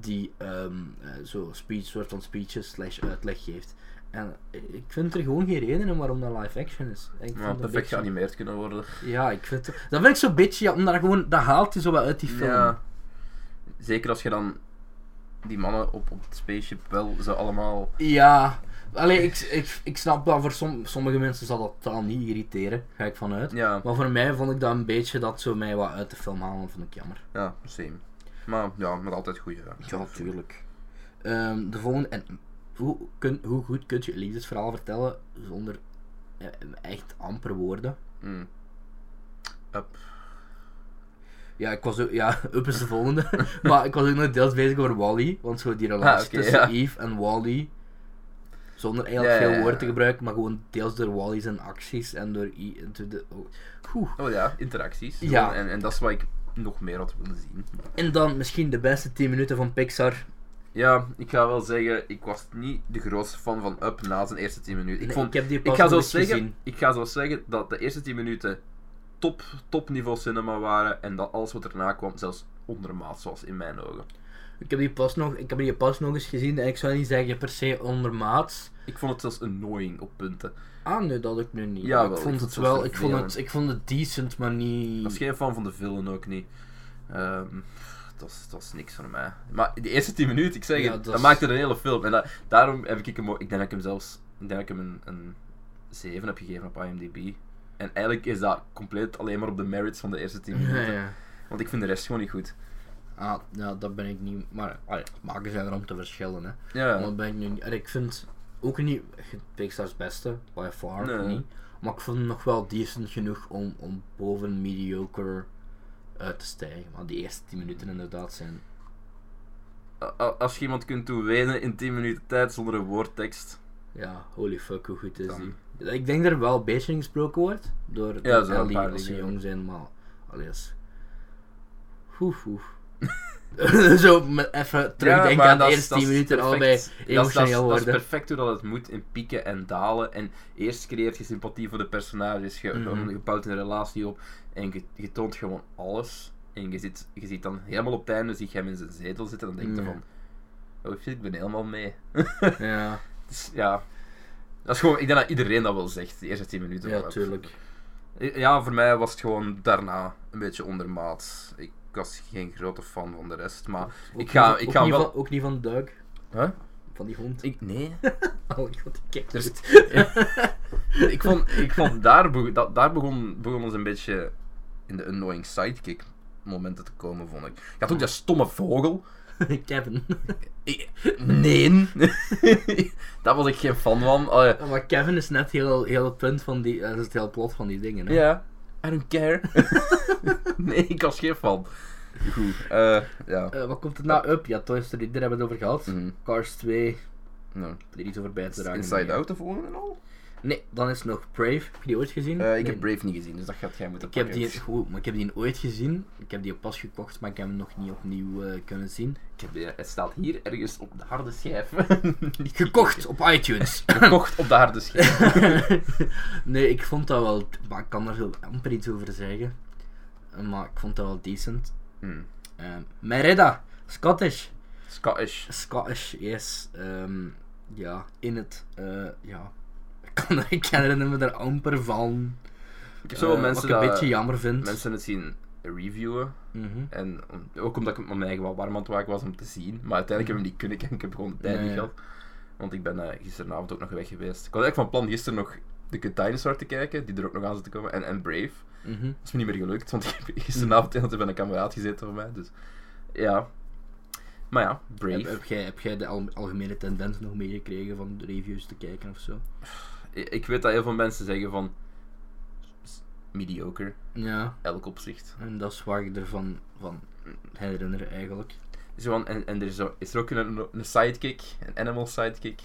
B: die ehm, eh, zo speech, soort van speeches slash uitleg geeft. En ik vind er gewoon geen reden in waarom dat live-action is. Ik vind
A: maar
B: dat een
A: perfect
B: beetje-
A: geanimeerd kunnen worden.
B: ja, ik vind het- Dat vind ik zo'n beetje, ja, omdat dat gewoon, dat haalt hij zo wat uit die film.
A: Ja. Zeker als je dan die mannen op, op het spaceship wel zo allemaal.
B: Ja. Allee, ik, ik, ik snap dat voor som- sommige mensen zal dat totaal niet irriteren, ga ik vanuit.
A: Ja,
B: Maar voor mij vond ik dat een beetje dat zo mij wat uit de film halen, dat vond ik jammer.
A: ja, same. Maar ja, met altijd goede.
B: Ja, natuurlijk. Ehm, de volgende, en hoe, kun, hoe goed kun je een liefdesverhaal vertellen zonder eh, echt amper woorden?
A: Mm. Up.
B: Ja, ik was ook, ja, (laughs) Up is de volgende. maar ik was ook nog deels bezig over Wally. Want zo die
A: Ah,
B: relatie
A: oké,
B: tussen
A: ja.
B: Eve en Wally. Zonder eigenlijk
A: Ja, ja,
B: veel
A: ja.
B: woorden te gebruiken, maar gewoon deels door Wally zijn acties en door I. en door de, oh. Oeh.
A: Oh ja, interacties.
B: Ja.
A: En, en dat is wat ik nog meer had willen zien.
B: En dan misschien de beste 10 minuten van Pixar.
A: Ja, ik ga wel zeggen, ik was niet de grootste fan van Up na zijn eerste 10 minuten. Ik,
B: Nee,
A: vond,
B: ik heb die
A: ik
B: pas
A: ga
B: nog
A: zo
B: eens
A: zeggen,
B: gezien.
A: ik ga zo zeggen dat de eerste 10 minuten top, topniveau cinema waren en dat alles wat erna kwam zelfs ondermaats was in mijn ogen.
B: Ik heb die pas nog, ik heb die pas nog eens gezien en ik zou niet zeggen per se ondermaats.
A: Ik vond het zelfs annoying op punten.
B: Ah, nee, dat ik nu niet.
A: Ja,
B: ik
A: wel,
B: vond
A: ik
B: het
A: vond het
B: wel, ik vond
A: vervelend.
B: het, ik vond het decent, maar niet.
A: Ik was geen fan van de film ook niet. Ehm, dat, is, dat is niks voor mij. Maar die eerste 10 minuten, ik zeg
B: Ja,
A: het,
B: dat
A: dat,
B: is-
A: maakte een hele film. En da- daarom heb ik hem ook, ik denk dat ik hem zelfs, ik denk dat ik hem een, een 7 heb gegeven op IMDb. En eigenlijk is dat compleet alleen maar op de merits van de eerste
B: (laughs)
A: 10 minuten.
B: Ja, ja.
A: Want ik vind de rest gewoon niet goed.
B: Ah, nou, dat ben ik niet. Maar ah, ja, maken zijn er om te verschillen, hè.
A: Ja,
B: Dat ben ik nu niet. en ik vind ook niet Pixar's beste, by far
A: Nee.
B: niet. Maar ik vond hem nog wel decent genoeg om, om boven mediocre uit te stijgen. Want die eerste 10 minuten inderdaad zijn.
A: a- a- als je iemand kunt doen wenen in 10 minuten tijd zonder een woordtekst.
B: Ja, holy fuck, hoe goed is
A: Dan-
B: die? Ik denk dat er wel een beetje in gesproken wordt door door
A: er zijn een
B: Ellie
A: paar
B: als ze
A: dingen.
B: jong zijn, maar alles. Hoef,
A: (laughs)
B: hoef. (laughs) Zo, met even terugdenken aan de
A: dat is-
B: eerste
A: dat
B: 10
A: is
B: minuten,
A: perfect.
B: allebei
A: Dat is- dat is-
B: emotioneel
A: Dat is
B: worden.
A: perfect hoe dat het moet in pieken en dalen. En eerst creëert je sympathie voor de personages, je,
B: Mhm.
A: je bouwt een relatie op en je, je toont gewoon alles. En je ziet, je ziet dan helemaal op het einde, zie je hem in zijn zetel zitten en dan denk je
B: Ja.
A: van, oh shit, ik ben helemaal mee.
B: Ja,
A: Dus ja, dat is gewoon, ik denk dat iedereen dat wel zegt, de eerste 10 minuten.
B: ja,
A: van-
B: tuurlijk.
A: Ja, voor mij was het gewoon daarna een beetje ondermaat. Ik was geen grote fan van de rest, maar
B: Ook
A: ik ga,
B: niet-
A: ik
B: ook
A: ga
B: niet
A: wel...
B: Van, ook niet van Doug,
A: Huh?
B: van die hond.
A: Ik, nee.
B: Oh, ik vond die
A: Er (laughs)
B: kijk.
A: zit- Dus ik vond, ik vond daar, bego- dat, daar begon, begon ons een beetje in de annoying sidekick momenten te komen, vond ik. Je had ook dat stomme vogel.
B: Kevin.
A: Ik- (laughs) nee. daar was ik geen fan van. Eh, Allee,
B: (laughs) Ja, maar Kevin is net heel, heel het punt van die, dat is het heel plot van die dingen. Hè?
A: Ja. I don't care. (laughs) nee, ik was geen fan. Goed. eh, ja.
B: Eh, wat komt er nou up? Ja, Toy Story 3, daar hebben we het over gehad.
A: Mhm.
B: Cars 2, ik
A: Nou,
B: heb er iets over bij te dragen.
A: Inside
B: nee.
A: Out de volgende al?
B: Nee, dan is nog Brave. Heb je die ooit gezien?
A: Eh, ik
B: Nee.
A: heb Brave niet gezien, dus dat gaat jij moeten
B: Ik heb,
A: pakken.
B: die, goed, maar ik heb die ooit gezien. Ik heb die pas gekocht, maar ik heb hem nog niet opnieuw eh, kunnen
A: (laughs)
B: zien.
A: Ik heb die- het staat hier ergens op de harde (laughs) schijf.
B: Gekocht op
A: (laughs)
B: iTunes.
A: Gekocht op de harde schijf.
B: (laughs) nee, ik vond dat wel... Maar ik kan daar zo amper iets over zeggen. Eh, Maar ik vond dat wel decent.
A: Hmm.
B: Eh, Merida, Scottish.
A: Scottish.
B: Scottish, yes. Ehm, ja, in het... eh, ja. Ik kan ik herinner me er amper van.
A: Ik heb
B: Eh,
A: zo wel
B: wat
A: mensen
B: ik een
A: dat
B: beetje jammer vind.
A: mensen het zien reviewen.
B: Mhm.
A: En om- ook omdat ik het mijn eigen wat warm aan het maken was om te zien. Maar uiteindelijk heb ik hem niet kunnen (laughs) kijken. Ik heb gewoon de tijd
B: Mhm. Nee,
A: niet
B: ja.
A: gehad. Want ik ben eh, gisteravond ook nog weg geweest. Ik was eigenlijk van plan gisteren nog The Good Dinosaur te kijken. Die er ook nog aan zit te komen. En, en Brave.
B: mhm.
A: Dat is me niet meer gelukt. Want (laughs) ik heb gisteravond heel de tijd bij een kameraad gezeten voor mij. Dus ja. Maar ja, Brave.
B: Heb, heb, jij, heb jij de al- algemene tendens nog meegekregen van de reviews te kijken of zo?
A: Ik- Ik weet dat heel veel mensen zeggen van... s- Mediocre.
B: Ja,
A: Elk opzicht.
B: en dat is waar ik ervan van herinner eigenlijk.
A: Zo, van- en, en er is, zo- is er ook een, een sidekick, een animal sidekick.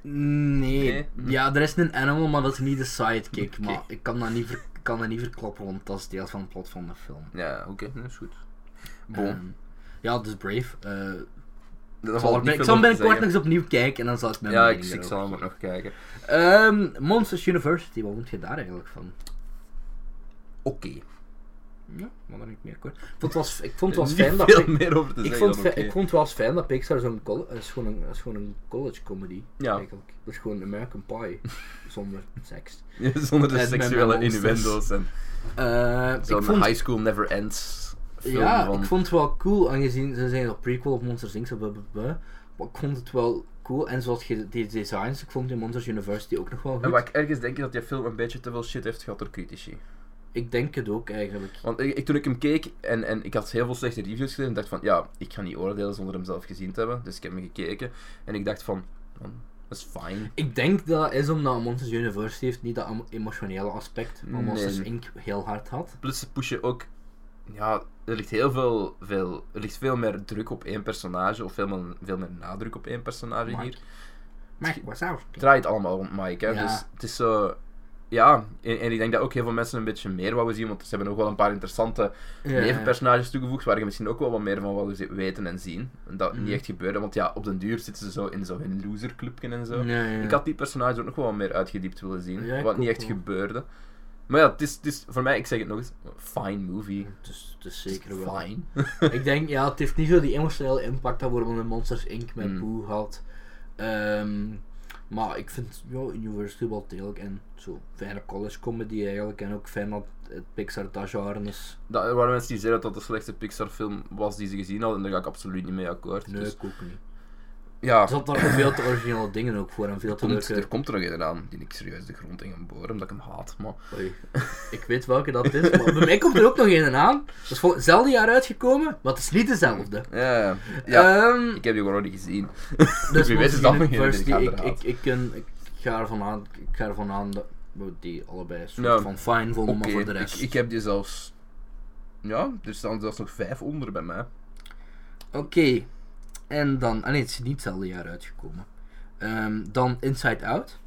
B: Nee.
A: Nee?
B: Ja, er is een animal, maar dat is niet de sidekick.
A: mhm. Oké.
B: Maar ik kan dat niet, ver- ik kan dat niet verklappen, want dat is deel van het plot van de film.
A: Ja, oké, dat is goed. Bon,
B: Ehm, ja, dus Brave. eh,
A: dat
B: zal
A: valt niet veel
B: er- ik zal
A: over te
B: binnenkort nog
A: zeggen.
B: eens opnieuw kijken en dan zal ik mijn
A: Ja, ik,
B: mening
A: ik
B: erover
A: zal hem ook
B: geven.
A: nog kijken.
B: Ehm, Monsters University, wat vond je daar eigenlijk van?
A: Oké.
B: Ja, maar dan niet meer kort. Ik vond het was, ik vond het
A: Er is (laughs)
B: was
A: niet
B: fijn dat
A: veel
B: ik-
A: meer over te
B: Ik
A: zeggen
B: vond,
A: dan
B: het
A: oké.
B: fi- ik vond het wel eens fijn dat Pixar zo'n coll- eh, is gewoon een, is gewoon een college comedy
A: Ja.
B: eigenlijk. Dat is gewoon American Pie (laughs) zonder seks.
A: (laughs) Zonder de
B: Het met
A: seksuele
B: mijn monsters.
A: innuendo's en
B: Eh, ik,
A: zo'n
B: vond,
A: high school never ends film
B: ja,
A: van...
B: ik vond het wel cool, aangezien ze zijn op prequel op Monsters Inc. zo, blah, blah, blah. Maar ik vond het wel cool. En zoals je die designs, ik vond die Monsters University ook nog wel
A: En
B: goed.
A: wat ik ergens denk is dat die film een beetje te veel shit heeft gehad door critici.
B: Ik denk het ook eigenlijk.
A: Want ik, ik- toen ik hem keek en, en ik had heel veel slechte reviews gelezen, ik dacht van ja, ik ga niet oordelen zonder hem zelf gezien te hebben. Dus ik heb hem gekeken en ik dacht van, man, dat is fijn.
B: Ik denk dat dat is omdat Monsters University heeft niet dat emo- emotionele aspect, maar
A: Nee.
B: Monsters Inc. heel hard had.
A: Plus ze pushen ook ja, er ligt heel veel, veel, er ligt veel meer druk op één personage, of veel meer, veel meer nadruk op één personage
B: Mike.
A: hier.
B: Maar what's out?
A: Het draait allemaal rond Mike, hè.
B: Ja.
A: Dus het is zo... Ja, en, en ik denk dat ook heel veel mensen een beetje meer wouden zien, want ze hebben ook wel een paar interessante nevenpersonages toegevoegd, waar je misschien ook wel wat meer van wou zi- weten en zien. En dat
B: Mhm.
A: niet echt gebeurde, want ja, op den duur zitten ze zo in zo'n loserclubje en zo.
B: Ja, ja.
A: Ik had die personage ook nog wel wat meer uitgediept willen zien,
B: Ja, ik
A: wat niet
B: ook
A: echt
B: wel.
A: gebeurde. Maar ja, het is, het is voor mij, ik zeg het nog eens, een fine movie.
B: Het is, Dus het is
A: Het is
B: zeker wel.
A: Fine.
B: ik denk, ja, het heeft niet zo die emotionele impact dat bijvoorbeeld in Monsters Inc. met
A: Mm.
B: Boo had. Ehm, maar ik vind ja, Universal wel degelijk en zo fijne college comedy eigenlijk. En ook fijn dat het Pixar dat genre is.
A: Dat, er waren mensen die zeiden dat dat de slechtste Pixar-film was die ze gezien hadden, en daar ga ik absoluut niet mee akkoord.
B: Nee,
A: Dus,
B: ik ook niet.
A: ja,
B: Er zat daar veel te originele dingen ook voor en veel
A: er
B: te
A: komt,
B: leuke...
A: er komt er nog een aan die ik serieus de grond in ga boren, omdat ik hem haat. Maar
B: Oei, (laughs) ik weet welke dat is, maar bij mij komt er ook nog een aan. Dat is voor hetzelfde jaar uitgekomen, maar het is niet dezelfde.
A: ja, ja
B: Ehm,
A: ik heb die gewoon nog niet gezien.
B: (laughs) Dus
A: Wie weet is
B: Monsters
A: dat nog een
B: University,
A: die ik
B: ik, ik,
A: haat.
B: ik, ken- ik ga ervan aan, ik ga ervan aan dat we die allebei een soort
A: Ja.
B: van fijn vonden,
A: Oké,
B: maar voor de
A: ik,
B: rest.
A: ik heb die zelfs... Ja, er staan zelfs nog vijf onder bij mij.
B: Oké, en dan, ah nee, het is niet hetzelfde jaar uitgekomen. Ehm, dan Inside Out.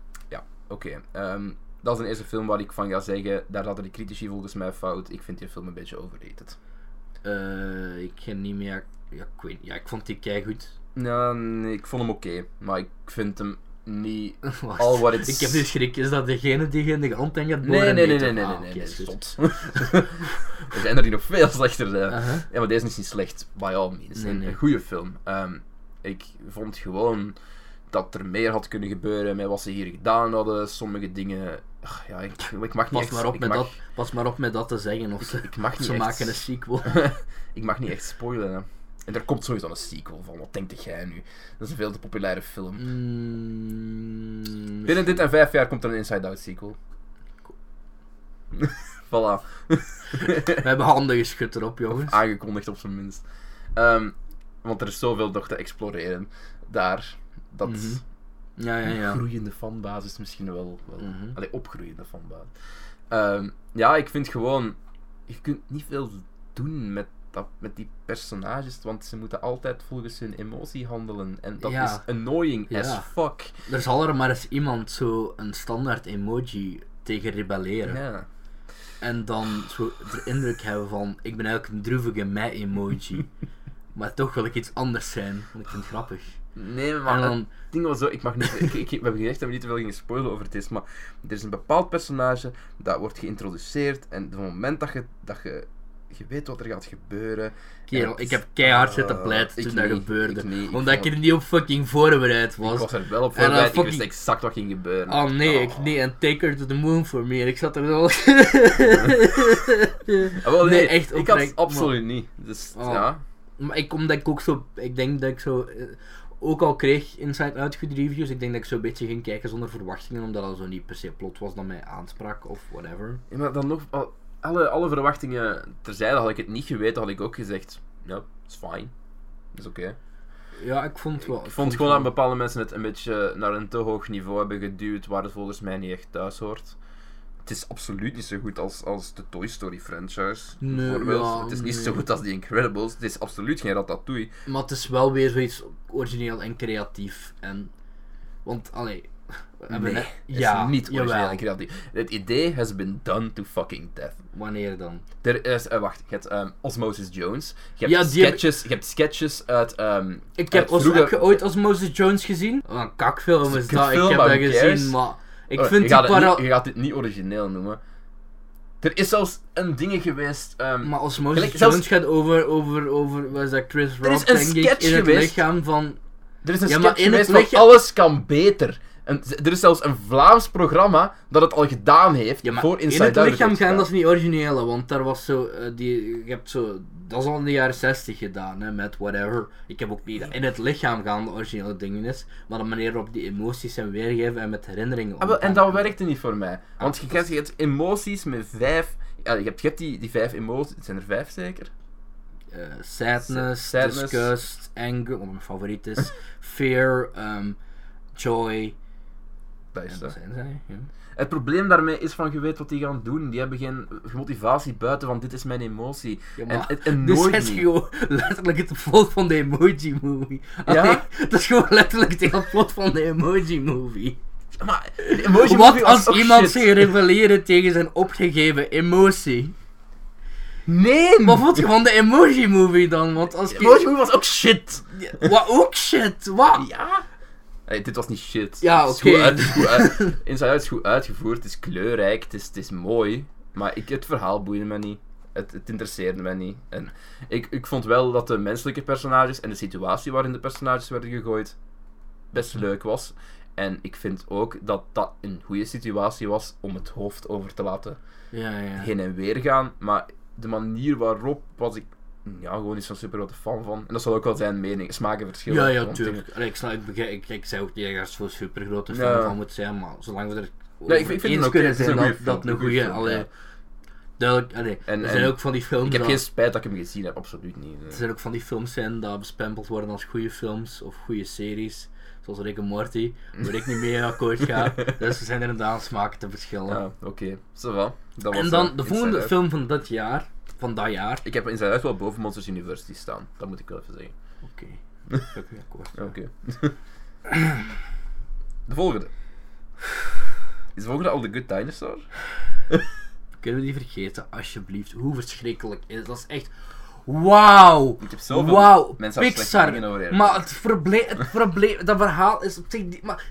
A: Oké, ehm, dat is een eerste film waar ik van ga zeggen, daar hadden de critici volgens mij fout. Ik vind die film een beetje overrated.
B: Eh, ik ken niet meer, ja, ik weet niet, ja, ik vond die kei goed.
A: Ja, nee, ik vond hem oké, maar ik vind hem
B: (laughs)
A: niet al wat het
B: Ik heb dus nu schrik, is dat degene die je in de grond in gaat
A: Nee, nee,
B: boren?
A: nee,
B: weet
A: nee, nee,
B: of- ah,
A: nee,
B: oké,
A: nee, nee,
B: is goed.
A: stop. (laughs) Er zijn er die nog veel slechter zijn.
B: Aha.
A: Ja, maar deze is niet slecht, by all means.
B: Nee,
A: Een-
B: nee.
A: Een goede film. Ehm, ik vond gewoon dat er meer had kunnen gebeuren met wat ze hier gedaan hadden. Sommige dingen... Ach, ja, ik, ik mag niet
B: Pas
A: echt...
B: maar, op
A: ik
B: met
A: mag,
B: dat, pas maar op met dat te zeggen, of ze,
A: Ik mag niet
B: ze
A: echt...
B: maken een
A: (laughs)
B: sequel.
A: ik mag niet echt spoilen, hè. En er komt sowieso een sequel van. Wat denkt jij nu? Dat is een veel te populaire film.
B: Mm,
A: Binnen dit en vijf jaar komt er een Inside Out sequel. (laughs) voilà.
B: We hebben handen geschud erop, jongens.
A: aangekondigd op zijn minst. Ehm, want er is zoveel nog te exploreren daar. Dat
B: Mhm. Ja, ja, ja.
A: een groeiende fanbasis misschien wel. wel
B: Mhm.
A: Allee, opgroeiende fanbasis. Ehm, ja, ik vind gewoon. Je kunt niet veel doen met, dat, met die personages. Want ze moeten altijd volgens hun emotie handelen. En dat
B: Ja.
A: is annoying
B: Ja.
A: as fuck.
B: Er zal er maar eens iemand zo een standaard emoji tegen rebelleren.
A: Ja.
B: En dan zo de indruk hebben van, ik ben eigenlijk een droevige
A: (laughs)
B: mij-emoji. maar toch wil ik iets anders zijn, want ik vind het grappig.
A: Nee, maar
B: En
A: het-
B: dan,
A: Het ding was zo, ik mag niet, ik, ik, we hebben gezegd dat we niet te veel gingen spoilen over het is, maar er is een bepaald personage dat wordt geïntroduceerd en op het moment dat je, dat je, je weet wat er gaat gebeuren...
B: kerel,
A: en-
B: ik heb keihard zitten
A: Eh,
B: pleiten
A: ik
B: toen dat
A: niet,
B: gebeurde.
A: ik niet, ik
B: omdat
A: vond-
B: ik er niet op fucking voorbereid
A: Ik
B: was.
A: was er wel op
B: En dan
A: voorbereid, ik wist
B: fucking-
A: exact wat ging gebeuren.
B: Oh nee, ik
A: Oh.
B: nee, en take her to the moon for me. En ik zat er wel... (laughs)
A: Ah, wel,
B: nee,
A: nee,
B: echt
A: Ik had
B: oprecht,
A: het absoluut niet, dus
B: Oh.
A: ja.
B: Maar ik, omdat ik ook zo, ik denk dat ik zo, eh, ook al kreeg Inside Out goede reviews, ik denk dat ik zo een beetje ging kijken zonder verwachtingen, omdat dat zo niet per se plot was dat mij aansprak of whatever.
A: Ja, Maar dan nog, al- alle, alle verwachtingen terzijde, had ik het niet geweten, had ik ook gezegd, ja, is fine. is oké.
B: Ja, ik vond het wel.
A: Ik vond gewoon dat bepaalde mensen het een beetje naar een te hoog niveau hebben geduwd, waar het volgens mij niet echt thuis hoort. Het is absoluut niet zo goed als, als de Toy Story franchise,
B: Nee,
A: bijvoorbeeld.
B: ja,
A: het is niet
B: nee.
A: zo goed als The Incredibles. Het is absoluut geen ratatouille.
B: Maar het is wel weer zoiets origineel en creatief. En, want, allee. We
A: Nee,
B: hebben net-
A: het
B: ja,
A: is niet origineel
B: jawel.
A: en creatief. Het idee has been done to fucking death.
B: Wanneer dan?
A: Er is, eh, wacht, je hebt ehm, Osmosis Jones. Je
B: Ja,
A: hebt,
B: die heb-
A: sketches, je hebt sketches uit... ehm,
B: Ik
A: uit
B: heb, Os-
A: vroeger-
B: heb je ooit als Moses Jones gezien? Wat Eh, Oh, een kakfilm
A: Het
B: is
A: is een
B: dat. Ik
A: kutfilm,
B: heb
A: maar
B: dat
A: who cares?
B: gezien, maar ik
A: Oh,
B: vind
A: je
B: die
A: gaat het
B: para...
A: niet- Je gaat dit niet origineel noemen. Er is zelfs een ding geweest... ehm,
B: Maar als Moses
A: Gelijk,
B: Jones
A: zelfs-
B: gaat over, over, over, was dat Chris Rock,
A: is een
B: denk ik,
A: sketch
B: in het
A: geweest.
B: lichaam van...
A: Er is een
B: Ja,
A: ja,
B: maar in het
A: geweest van
B: lichaam-
A: alles kan beter. En z- er is zelfs een Vlaams programma dat het al gedaan heeft
B: Ja, maar
A: voor
B: in
A: Inside
B: het
A: Out
B: lichaam
A: werd
B: gaan, dat
A: gedaan.
B: is niet originele, want daar was zo, eh, die, je hebt zo, dat is al in de jaren 60 gedaan, hè, met whatever. Ik heb ook niet dat in het lichaam gaan de originele dingen is, maar de manier waarop die emoties zijn weergegeven en met herinneringen
A: Ah, wel, en dat
B: omgaan.
A: werkte niet voor mij.
B: Ah,
A: Want je, krijgt, je hebt emoties met vijf... Ja, je hebt, je hebt die, die vijf emoties... Het zijn er vijf zeker?
B: Eh, sadness,
A: Sadness. (laughs)
B: disgust, anger, wat mijn favoriet is, fear, ehm, joy,
A: Dat is
B: Ja,
A: dat.
B: dat zijn zij. Ja.
A: Het probleem daarmee is van, je weet wat die gaan doen. Die hebben geen motivatie buiten van, dit is mijn emotie.
B: Ja,
A: en,
B: maar-
A: en,
B: (laughs)
A: en
B: Dus
A: nooit
B: het is
A: niet.
B: gewoon letterlijk het plot van de Emoji Movie.
A: Ja?
B: dat is gewoon letterlijk het hele plot van de Emoji Movie.
A: Maar, de emoji
B: Wat
A: movie was
B: als
A: ook
B: iemand
A: Oh, shit.
B: zich rebelleren tegen zijn opgegeven emotie?
A: Nee!
B: Wat vond je van de Emoji Movie dan? Want als
A: De
B: ik-
A: emoji movie was ook shit!
B: Wat ook shit, wat?
A: Ja? Hey, dit was niet shit.
B: Ja,
A: Het is goed
B: oké.
A: uit- het is goed uit- (laughs) Inside Out is goed uitgevoerd, het is kleurrijk, het is, het is mooi. Maar ik, het verhaal boeide me niet. Het, het interesseerde me niet. En ik, ik vond wel dat de menselijke personages en de situatie waarin de personages werden gegooid best
B: Hm.
A: leuk was. En ik vind ook dat dat een goede situatie was om het hoofd over te laten
B: Ja, ja.
A: heen en weer gaan. Maar de manier waarop was ik ja, gewoon niet zo'n super grote fan van. En dat zal ook wel zijn mening, smakenverschillen.
B: Ja, ja,
A: want
B: tuurlijk. Allee, ik, snap, ik, begrijp- ik, ik zei ook niet dat je daar zo'n super grote fan
A: Ja.
B: van moet zijn, maar zolang we er
A: Nee, ik vind- ik vind het
B: over eens
A: oké,
B: kunnen
A: het is
B: zijn
A: een
B: dat
A: goeie film,
B: dat een
A: een goeie
B: goede...
A: film,
B: Allee,
A: ja.
B: Duidelijk, allee,
A: En-
B: er zijn
A: en
B: ook van die films
A: Ik heb
B: dat-
A: geen spijt dat ik hem gezien heb, absoluut niet.
B: Er zijn ook van die films zijn dat bespempeld worden als goede films of goede series. Zoals Rick en
A: (laughs)
B: Morty, waar ik niet mee akkoord ga. Dus er zijn inderdaad smaken te verschillen.
A: Ja, oké. Ça va. Dat was
B: en
A: eh,
B: dan de
A: Inside
B: volgende
A: Out.
B: film van dat jaar. Van dat jaar.
A: Ik heb Inside Out wel boven Monsters University staan. Dat moet ik wel even zeggen.
B: (laughs) Oké. daar ben Ik ben akkoord.
A: Ja, Oké. de volgende. Is de volgende al The Good Dinosaur?
B: Kunnen we die vergeten, alsjeblieft? Hoe verschrikkelijk is dat? Dat is echt. Wauw!
A: Ik heb zoveel
B: Wauw!
A: mensen daar slechte
B: Pixar!
A: dingen over hebben.
B: Maar het probleem, het probleem, dat verhaal is op zich niet. Maar,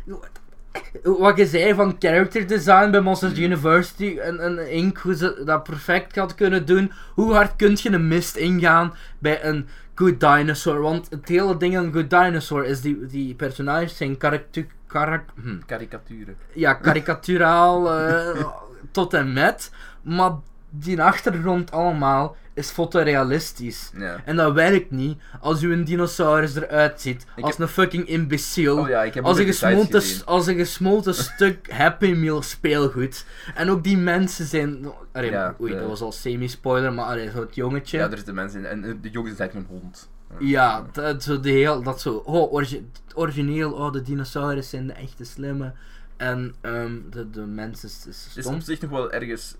B: wat je zei van character design bij
A: Hmm.
B: Monsters University en, en Inc., hoe ze dat perfect had kunnen doen. Hoe hard kun je een mist ingaan bij een Good Dinosaur? Want het hele ding aan Good Dinosaur is die, die personages zijn karakter. karak, hm
A: Karikaturen.
B: ja, karikaturaal eh, tot en met. Maar die achtergrond allemaal is fotorealistisch.
A: Ja.
B: En dat werkt niet als u een dinosaurus eruit ziet.
A: Ik
B: als
A: heb-
B: een fucking imbeciel.
A: Oh ja, ik heb
B: als,
A: ook
B: een
A: de details
B: gesmolten,
A: gezien.
B: als een gesmolten
A: (laughs)
B: stuk Happy Meal speelgoed. En ook die mensen zijn. Allee,
A: Ja,
B: oei,
A: de-
B: dat was al semi-spoiler, maar allee, zo het jongetje.
A: Ja, er zitten mensen in. En eh, de jongens is eigenlijk een hond.
B: Ja, dat, zo de heel, dat zo. Oh, orgi- origineel, oh, de dinosaurus zijn de echte slimme. En ehm, de, de mensen is, is
A: Het is
B: stom.
A: op zich nog wel ergens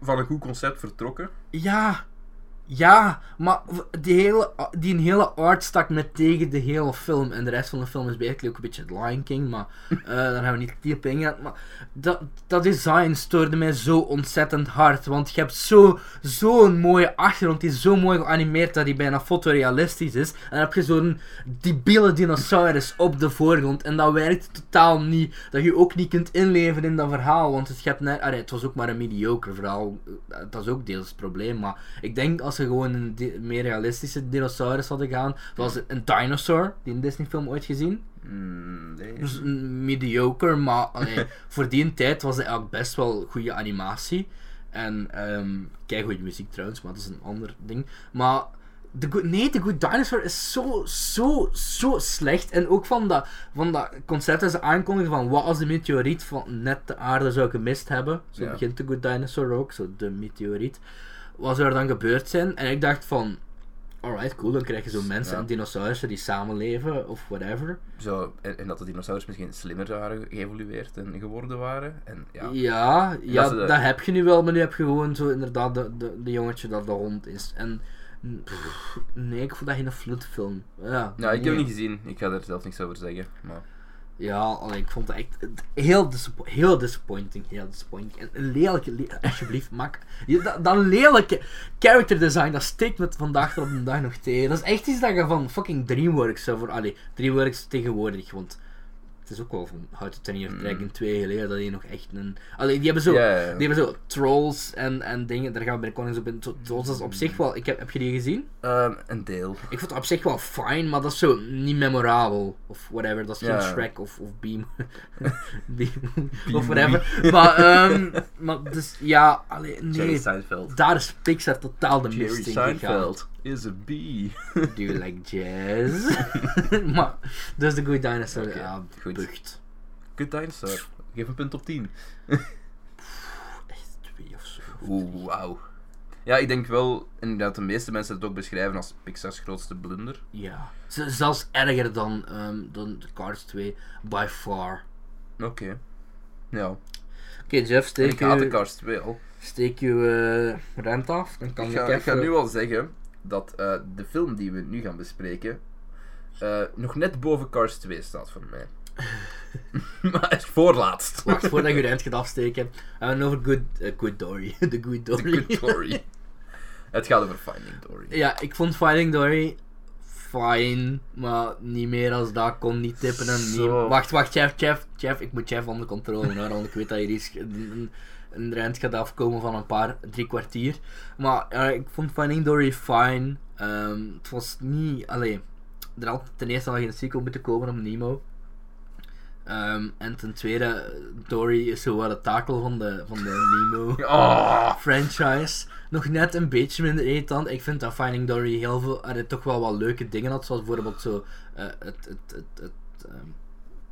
A: van een goed concept vertrokken.
B: Ja, ja, maar v- die hele, die hele art stak me tegen de hele film. En de rest van de film is eigenlijk ook een beetje The Lion King, maar eh, daar gaan we niet diep in gaan. Maar dat, dat design stoorde mij zo ontzettend hard. Want je hebt zo- zo'n mooie achtergrond, die is zo mooi geanimeerd dat die bijna fotorealistisch is. En dan heb je zo'n debiele dinosaurus op de voorgrond. En dat werkt totaal niet. Dat je ook niet kunt inleven in dat verhaal. Want het, gaat net, allee, het was ook maar een mediocre verhaal. eh, Dat is ook deels het probleem. Maar ik denk als ze gewoon een di- meer realistische dinosaurus hadden gaan. Zoals een dinosaur, die een Disney film ooit gezien.
A: Mm, nee.
B: Dus een mediocre, maar allee, (laughs) voor die tijd was het eigenlijk best wel goede animatie. En ehm kijk goede muziek trouwens, maar dat is een ander ding. Maar de Good, nee, The Good Dinosaur is zo, zo, zo slecht. En ook van dat, van dat concept dat ze aankondigen van wat als de meteoriet van net de aarde zou gemist hebben. Zo
A: Ja.
B: begint The Good Dinosaur ook, zo de meteoriet. Wat zou er dan gebeurd zijn? En ik dacht van, alright, cool, dan krijg je zo mensen
A: Ja.
B: en dinosaurussen die samenleven of whatever.
A: Zo, en, en dat de dinosaurus misschien slimmer waren geëvolueerd en geworden waren. En ja,
B: Ja, ja
A: dat
B: dat,
A: ze de-
B: heb je nu wel, maar nu heb je gewoon zo inderdaad de, de, de jongetje dat de hond is. En pff, nee, ik vond dat geen flutfilm. Ja,
A: Nou, ik heb
B: nee.
A: hem niet gezien. Ik ga daar zelf niks over zeggen. Maar...
B: Ja, allee, ik vond het echt het- heel, disappo- heel disappointing. Heel disappointing. En een lelijke, le- (laughs) alsjeblieft, mak. Je- Dat, dat lelijke character design, dat steekt me vandaag tot op de dag nog tegen. Dat is echt iets dat je van fucking Dreamworks zou voor. Allee, Dreamworks tegenwoordig, want het is ook wel van How to Train Your Dragon 2 geleden dat die nog echt een. Allee, die hebben zo.
A: Mm. Ja, ja, ja.
B: Die hebben zo trolls en, en dingen, daar gaan we binnenkort eens op in. Zo- Trolls, dat is op zich wel. Ik heb, heb je die gezien?
A: Ehm, een deel.
B: Ik vond het op zich wel fijn, maar dat is zo niet memorabel. Of whatever, dat is geen
A: Ja.
B: Shrek of, of Beam. (laughs) Beam. of whatever. maar, ehm maar dus ja, allee, nee.
A: Seinfeld.
B: Daar is Pixar totaal de
A: Jerry
B: mist in gegaan.
A: Seinfeld is a bee.
B: Do you like
A: (laughs)
B: jazz? (laughs) maar, dus The Good Dinosaur,
A: Oké,
B: ja,
A: goed.
B: bucht.
A: Good dinosaur. Geef een punt op 10.
B: Echt twee of zo.
A: Oeh, wauw. Ja, ik denk wel inderdaad de meeste mensen het ook beschrijven als Pixar's grootste blunder.
B: Ja. Z- zelfs erger dan, ehm dan Cars 2, by far.
A: Oké. Ja.
B: Oké, Jeff,
A: En
B: steek
A: ik haat de
B: je,
A: Cars 2 al.
B: steek je eh, ruimte af. Dan kan
A: Ik
B: ik,
A: ga,
B: even...
A: ik ga nu al zeggen dat eh, de film die we nu gaan bespreken eh, nog net boven Cars 2 staat voor mij. (laughs) maar echt voorlaatst. (laughs)
B: Wacht, voordat je je eind gaat afsteken. We hebben over Good, eh, good Dory. (laughs) De Good
A: The
B: Dory.
A: Good Dory. Het gaat over Finding Dory.
B: Ja, ik vond Finding Dory fine, maar niet meer als dat. Kon niet tippen en niet...
A: Zo.
B: Wacht, wacht, Jeff, Jeff, Jeff. Ik moet Jeff onder controle houden, want ik weet dat hier iets... Een, een, een rent gaat afkomen van een paar, drie kwartier. Maar ja, ik vond Finding Dory fine. Ehm, het was niet... Allee, er had ten eerste al geen sequel moeten komen op Nemo. Ehm, en ten tweede, Dory is zo wel het takel van de, van de Nemo
A: Oh,
B: franchise nog net een beetje minder irritant. Ik vind dat Finding Dory heel veel, er toch wel wat leuke dingen had, zoals bijvoorbeeld zo eh, het, het, het, het, ehm,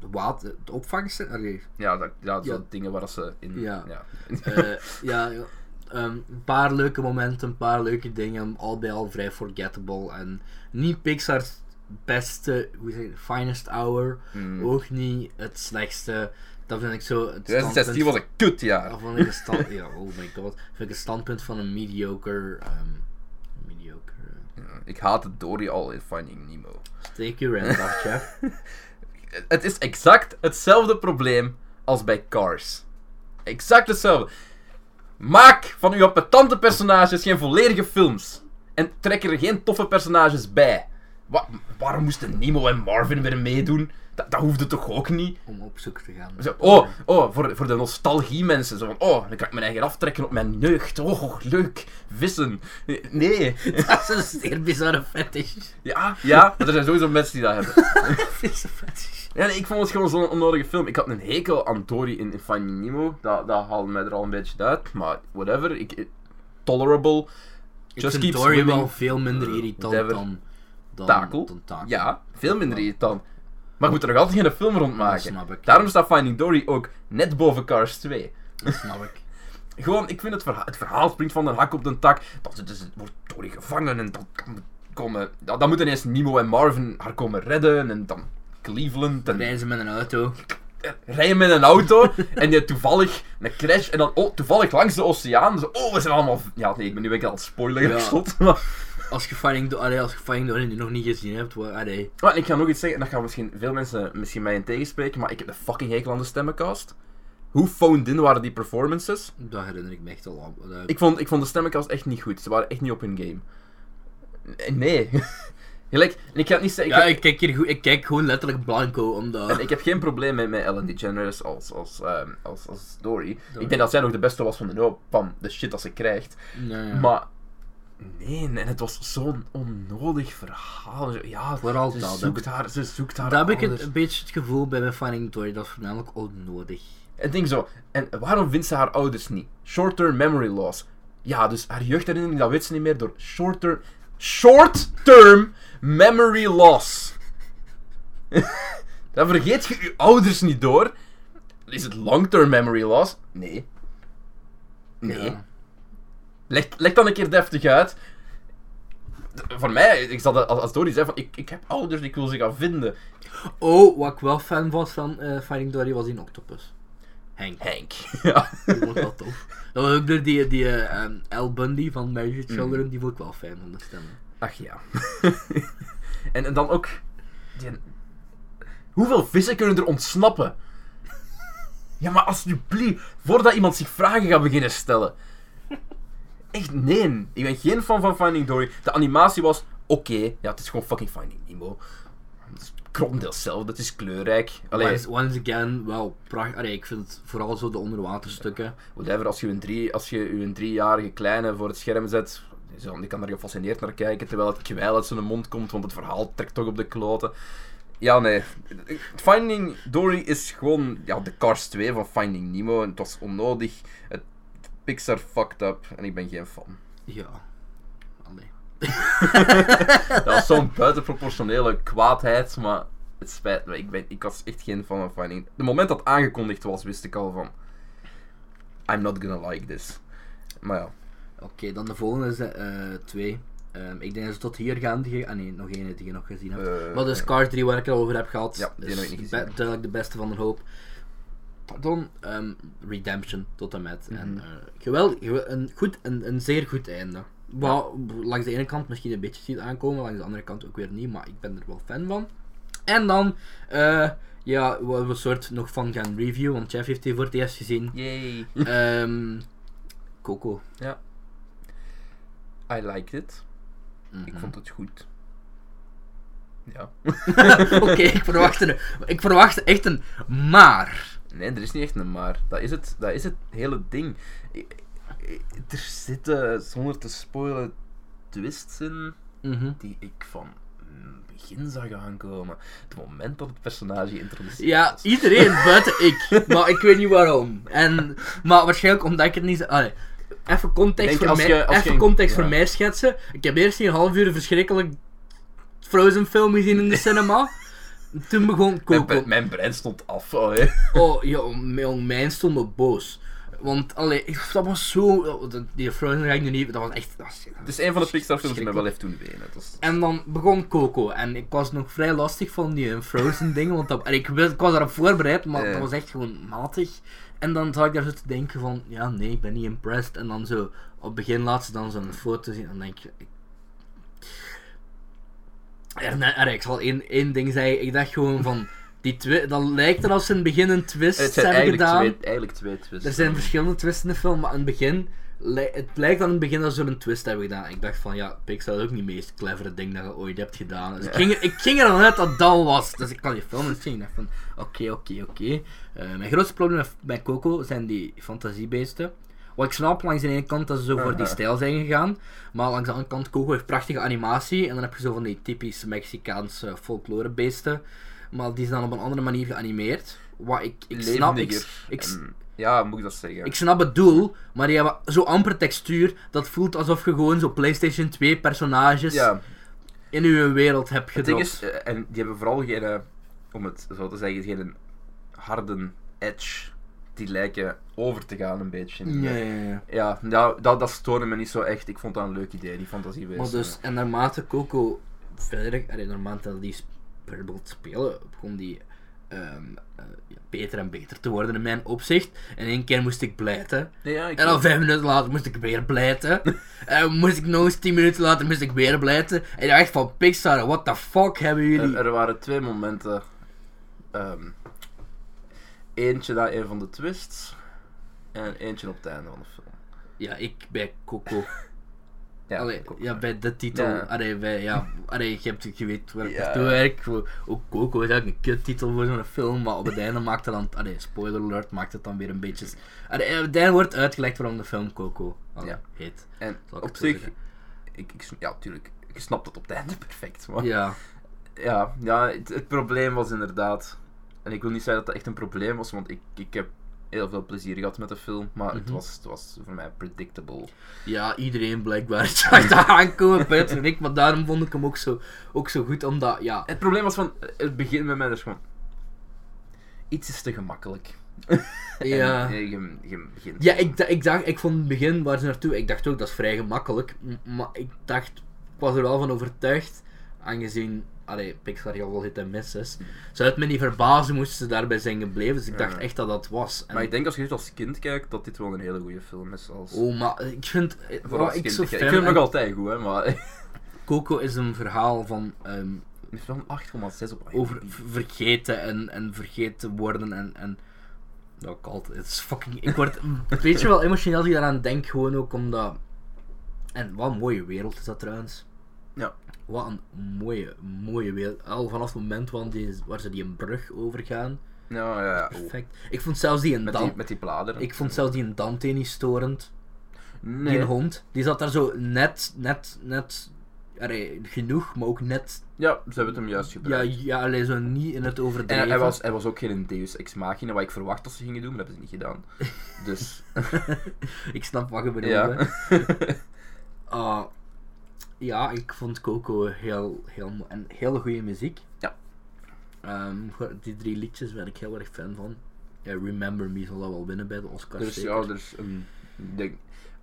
B: de water, het opvangsten. Allee,
A: Ja, dat, ja, zo
B: Ja.
A: dingen waar ze in...
B: Ja.
A: ja.
B: eh, ja, ja, ehm, een paar leuke momenten, een paar leuke dingen, al bij al vrij forgettable en niet Pixar's beste, hoe zeg je, finest hour,
A: Mm.
B: ook niet het slechtste. Dat vind ik zo. Het
A: 2016 was
B: standpunt-
A: een kutjaar.
B: Of vond ik een stand... (laughs) ja, oh my god. Vind ik een standpunt van een mediocre... ehm mediocre... eh,
A: Ja, Ik haat het Dory al in Finding Nemo.
B: Steek je rent
A: (laughs)
B: af, chef.
A: Het is exact hetzelfde probleem als bij Cars. Exact hetzelfde. Maak van uw appetante personages geen volledige films. En trek er geen toffe personages bij. Wa- waarom moesten Nemo en Marvin weer meedoen? Dat, dat hoefde toch ook niet?
B: Om op zoek te gaan.
A: Zo, oh, oh voor, voor de nostalgie mensen. Zo van, oh, dan kan ik mijn eigen aftrekken op mijn jeugd. Oh, leuk. Vissen. Nee.
B: (laughs)
A: (laughs)
B: Dat is een zeer bizarre fetish. (laughs)
A: Ja, ja. Maar er zijn sowieso mensen die dat hebben.
B: Het is een fetish.
A: Ja, nee, ik vond het gewoon zo'n onnodige film. Ik had een hekel aan Dory in in Finding Nemo. Dat, dat haalde mij er al een beetje uit. Maar whatever. Ik, ik- tolerable.
B: ik
A: Just
B: vind
A: keep
B: Dory
A: swimming. Uh,
B: wel veel minder irritant
A: Whatever.
B: dan... Dan,
A: Takel.
B: dan Takel.
A: Ja, veel minder irritant. Maar je moet er nog altijd geen film rond
B: Dat
A: maken.
B: snap ik.
A: Daarom staat Finding Dory ook net boven Cars 2.
B: Dat snap ik.
A: Gewoon, ik vind het verhaal, het verhaal springt van de hak op de tak. Dan zit- dus, wordt Dory gevangen en dan kan- komen... Dan, dan moeten ineens Nemo en Marvin haar komen redden. En dan Cleveland en...
B: Rijden ze met een auto.
A: rijden met een auto (laughs) en je toevallig een crash en dan oh, toevallig langs de oceaan. Zo, oh, we zijn allemaal. Ja, nee, ik ben nu ben ik aan het spoileren.
B: Ja.
A: slot. (laughs) Maar,
B: Als je Finding, Do allee, als je Finding Dory nu nog niet gezien hebt, waar, allee.
A: maar ik ga nog iets zeggen, en dat gaan misschien veel mensen misschien mij in tegenspreken, maar ik heb de fucking hekel aan de stemmencast. Hoe phoned in waren die performances?
B: Dat herinner ik me echt al aan. Eh,
A: Ik vond, ik vond de stemmencast echt niet goed. Ze waren echt niet op hun game. Eh, Nee. (laughs) Gelijk, en ik ga het niet zeggen.
B: ja,
A: ik,
B: ik kijk, hier goed, ik kijk gewoon letterlijk blanco, omdat...
A: heb, en ik heb geen probleem met, met Ellen DeGeneres als, als, ehm, als, als Dory.
B: Dory.
A: Ik denk dat zij nog de beste was van de hoop van de shit dat ze krijgt.
B: Nee, ja.
A: Maar nee, en het was zo'n onnodig verhaal. Ja,
B: Vooral
A: ze
B: dat, hè.
A: zoekt haar, ze zoekt haar.
B: Daar heb ik
A: anders.
B: het, een beetje het gevoel bij mijn Finding Dory, dat is voornamelijk onnodig.
A: Het ding zo. En waarom vindt ze haar ouders niet? Short-term memory loss. Ja, dus haar jeugdherinnering, dat weet ze niet meer door short-term. Short-term memory loss. (laughs) Daar vergeet je je ouders niet door. Is het long-term memory loss? Nee. Nee.
B: Ja.
A: Leg, leg dan een keer deftig uit. D- Voor mij, ik zat als, als Dory zei van ik, ik heb ouders, ik wil ze gaan vinden.
B: Oh, wat ik wel fan was van eh, Finding Dory was die octopus. (laughs) Henk,
A: Henk. (laughs) Ja.
B: die vond ik wel tof. Dat was ook door die, die eh, ehm, Al Bundy van Married with Children, die vond ik wel fijn van de stemmen.
A: Ach ja. (laughs) en, en dan ook. die- hoeveel vissen kunnen er ontsnappen? Ja, maar alsjeblieft, voordat iemand zich vragen gaat beginnen stellen. Echt, nee. Ik ben geen fan van Finding Dory. De animatie was oké. Ja, het is gewoon fucking Finding Nemo. Het is grotendeel hetzelfde, het is kleurrijk. Allee,
B: Once, once again, wel prachtig. Allee, ik vind het vooral zo de onderwaterstukken.
A: Whatever, als je een, drie, als je een driejarige kleine voor het scherm zet, zo, die kan er gefascineerd naar kijken, terwijl het kwijl uit zijn mond komt, want het verhaal trekt toch op de kloten. Ja, nee. Finding Dory is gewoon ja, de Cars 2 van Finding Nemo. En het was onnodig. Het Pixar fucked up. En ik ben geen fan.
B: Ja. Allee.
A: Dat was zo'n buitenproportionele kwaadheid, maar het spijt me. Ik, ben, ik was echt geen fan van Finding. De moment dat aangekondigd was, wist ik al van... I'm not gonna like this. Maar ja.
B: Oké, dan de volgende is de, eh, twee. Ehm, ik denk dat ze tot hier gaan. Die, ah nee, nog één die je nog gezien hebt.
A: Eh,
B: maar dus Cars 3 waar ik het al over heb gehad.
A: Ja, die
B: is
A: heb ik niet
B: be-
A: gezien.
B: duidelijk de beste van de hoop. pardon, ehm, Redemption tot en met. En,
A: Mhm.
B: eh, geweld, gewe- een, goed, een, een zeer goed einde. Wat langs de ene kant misschien een beetje ziet aankomen, langs de andere kant ook weer niet, maar ik ben er wel fan van. En dan, eh, ja, wat we soort nog van gaan reviewen, want Jeff heeft die voor het eerst gezien.
A: Yay.
B: Ehm, Coco.
A: I liked it. Ik
B: Mhm.
A: vond het goed. Ja. (laughs)
B: (laughs) Oké, ik verwacht een- ik verwacht echt een maar.
A: Nee, er is niet echt een maar. Dat is het, dat is het hele ding. I- I- Er zitten, zonder te spoilen, twists in die ik van mm, begin zag aankomen. Het moment dat het personage introduceert
B: Ja,
A: was.
B: iedereen buiten ik. Maar ik weet niet waarom. En, maar waarschijnlijk omdat ik het niet... allee, even context,
A: Denk,
B: voor,
A: als
B: mij,
A: je- als je
B: even
A: een-
B: context
A: ja.
B: voor mij schetsen. Ik heb eerst een half uur een verschrikkelijk Frozen film gezien in de cinema. Toen begon
A: Mijn,
B: Coco.
A: bre- mijn brein stond af. Oh, hè.
B: Oh, jong, jong, mijn stond op boos. Want, allee, ik- dat was zo... dat- Die Frozen ga ik nu niet... Dat was echt... Dat was,
A: Het is een van de Pixar films die mij wel heeft doen wenen. Dat is-
B: En dan begon Coco. En ik was nog vrij lastig van die eh, Frozen dingen. Want dat, en ik, wist- ik was daarop voorbereid, maar
A: Ja.
B: dat was echt gewoon matig. En dan zat ik daar zo te denken van, ja nee, ik ben niet impressed. En dan zo, op het begin laat ze dan zo'n foto zien. En dan denk je... Ik... En, eh, allee, ik zal één, één ding zeggen. Ik dacht gewoon van, die twi- dat lijkt er als ze in het begin een twist
A: het zijn
B: hebben
A: eigenlijk
B: gedaan.
A: twee, eigenlijk twee twists.
B: Er zijn verschillende twists in de film, maar aan het begin... li- Het lijkt aan het begin dat ze een twist hebben gedaan. Ik dacht van, ja, Pixar is ook niet het meest clevere ding dat je ooit hebt gedaan. Dus ik, ging, er- ik ging ervan uit dat dat was. Dus ik kan die film eens zien. Ik dacht van, oké, oké, oké. Eh, mijn grootste probleem met- bij Coco zijn die fantasiebeesten. Wat ik snap, langs de ene kant dat ze zo voor die
A: Aha.
B: stijl zijn gegaan. Maar langs de andere kant, Coco heeft prachtige animatie. En dan heb je zo van die typische Mexicaanse folklorebeesten. Maar die zijn dan op een andere manier geanimeerd. Wat ik, ik snap, ik,
A: Levendiger
B: ik,
A: en- ja, moet ik dat zeggen?
B: ik snap het doel, maar die hebben zo amper textuur. Dat voelt alsof je gewoon zo PlayStation 2 personages
A: ja,
B: in je wereld hebt
A: Dus Het ding
B: gedropt.
A: is, eh, en die hebben vooral geen, eh, om het zo te zeggen, geen harde edge. Die lijken over te gaan een beetje.
B: Ja, ja, ja.
A: Ja, nou, dat, dat stoorde me niet zo echt. Ik vond dat een leuk idee, die fantasiewezen.
B: Maar dus, en naarmate Coco verder, allee, naarmate dat die sp- verder begon te spelen, begon die ehm, eh, ja, beter en beter te worden in mijn opzicht. En één keer moest ik blijten.
A: Nee, ja, ik,
B: En al vijf minuten later moest ik weer
A: (laughs)
B: blijten. en moest ik nog eens tien minuten later moest ik weer blijten. En ik dacht van Pixar, what the fuck hebben jullie...
A: er, er waren twee momenten. Ehm, eentje na een van de twists. En eentje op het einde van de film.
B: Ja, ik bij Coco.
A: Ja,
B: Allee,
A: ik ook.
B: ja, bij de titel.
A: Ja.
B: Allee, bij, ja, allee, je hebt het geweten waar ik
A: Ja.
B: naartoe werk. Voor- Ook Coco is eigenlijk een kuttitel voor zo'n film, maar op het einde maakt het dan... Allee, spoiler alert, maakt het dan weer een beetje... Allee, op het einde wordt uitgelegd waarom de film Coco allee,
A: Ja.
B: heet.
A: En
B: Zal ik
A: op
B: het zo
A: zich,
B: zeggen?
A: ik, ik, ja, tuurlijk, ik snap dat op het einde (laughs) perfect. Maar
B: Ja.
A: Ja, ja het, het probleem was inderdaad. En ik wil niet zeggen dat dat echt een probleem was, want ik, ik heb heel veel plezier gehad met de film. Maar het,
B: Mhm.
A: was, het was voor mij predictable.
B: Ja, iedereen blijkbaar (laughs) zag dat aankomen, buiten ik, maar daarom vond ik hem ook zo, ook zo goed, omdat, ja...
A: Het probleem was van het begin bij mij dus gewoon. Iets is te gemakkelijk.
B: Ja.
A: En, eh, je, je begint.
B: Ja, ik, da- ik dacht, ik vond in het begin waar ze naartoe, ik dacht ook dat is vrij gemakkelijk, m- maar ik dacht, ik was er wel van overtuigd, aangezien, allee, Pixar heel veel hit en miss is, zou het me niet verbazen moesten ze daarbij zijn gebleven, dus ik dacht
A: Ja.
B: echt dat dat was. En-
A: Maar ik denk als je dit als kind kijkt, dat dit wel een hele goede film is. Als,
B: Oh, maar ik vind, eh,
A: voor
B: wat
A: als
B: ik
A: kind
B: zo
A: te kijken. Ik vind
B: fijn
A: hem
B: aan
A: nog altijd goed, hè, maar. (laughs) Het
B: Coco is een verhaal van ehm,
A: is wel een 8,6 op
B: over
A: IMDb.
B: v- vergeten en, en vergeten worden en... en nou, ik altijd, het is fucking... Ik word een beetje wel emotioneel als ik daaraan denk, gewoon ook omdat... En wat een mooie wereld is dat trouwens.
A: Ja.
B: Wat een mooie, mooie wereld. Al vanaf het moment waar, die, waar ze die een brug overgaan.
A: Ja, ja, ja. Oh.
B: Perfect. Ik vond zelfs die een
A: Met, die,
B: Dante...
A: met die bladeren.
B: Ik vond zelfs die een Dante niet storend. Die
A: nee.
B: een hond. Die zat daar zo net, net, net... Allee, genoeg, maar ook net...
A: Ja, ze hebben het hem juist gebruikt.
B: Ja, ja allee, zo niet in het overdreven.
A: En hij was, hij was ook geen Deus Ex Machina, wat ik verwacht dat ze gingen doen, maar dat hebben ze niet (laughs) gedaan. Dus,
B: Ik snap wat je bedoelt. hè.
A: ja.
B: Ah, ja, ik vond Coco heel, heel, mo- en hele goede muziek.
A: Ja.
B: Ehm, go- die drie liedjes ben ik heel erg fan van. Ja, Remember Me zal dat wel winnen bij de Oscars.
A: dus
B: zeker.
A: ja, dus... ehm, ik denk,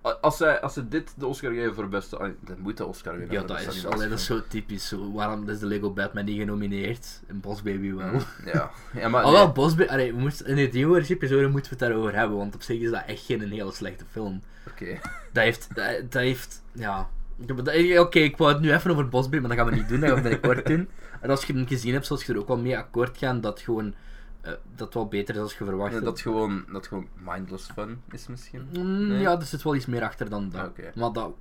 A: a- als, zij, als ze dit de Oscar geven voor beste, ah, dan moet de Oscar winnen.
B: Ja,
A: voor
B: dat
A: beste
B: is,
A: animatie.
B: alleen dat is zo typisch. Zo, waarom is de Lego Batman niet genomineerd? En Boss Baby wel.
A: Mm.
B: (laughs)
A: Ja, ja maar...
B: Alhoewel, Boss Baby... Allee, we moesten- in de Dreamworks-episode moeten we het daarover hebben, want op zich is dat echt geen een hele slechte film.
A: Oké.
B: Dat heeft... Dat, dat heeft... Ja... Ik heb- dat- eh, Oké, ik wou het nu even over Boss Baby, maar dat gaan we niet doen. Dat gaan we binnenkort doen. En als je hem gezien hebt, zoals je er ook wel mee akkoord gaan, dat gewoon... eh, dat wel beter is als je verwacht.
A: Nee,
B: had.
A: dat, gewoon, dat gewoon mindless fun is misschien.
B: Mm,
A: Nee?
B: Ja, er zit wel iets meer achter dan dat.
A: Ah, oké.
B: Maar dat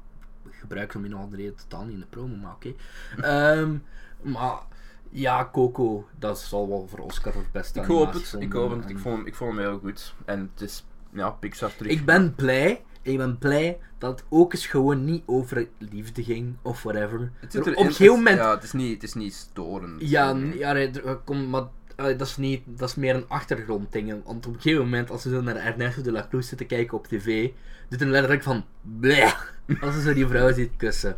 B: gebruiken we in andere reden totaal niet in de promo, maar oké. Ehm, maar ja, Coco, dat zal wel voor Oscar of beste
A: Ik hoop het,
B: animatiefilm eh,
A: ik hoop het.
B: en-
A: Ik vond, hem- ik vond hem heel goed. En het is, ja, Pixar terug.
B: Ik ben blij, ik ben blij dat het ook eens gewoon niet over liefde ging of whatever.
A: het
B: Er-
A: zit
B: op
A: erin,
B: een
A: het-
B: gegeven moment...
A: Ja, het is niet, het is niet storend.
B: Ja,
A: Mm.
B: n- ja nee, er- eh, kom, maar eh, dat, is niet, dat is meer een achtergrondding. hè. Want op een gegeven moment, als ze zo naar Ernesto de la Cruz zitten kijken op tv, doet hem letterlijk van bleh, (laughs) als ze zo die vrouw ziet kussen.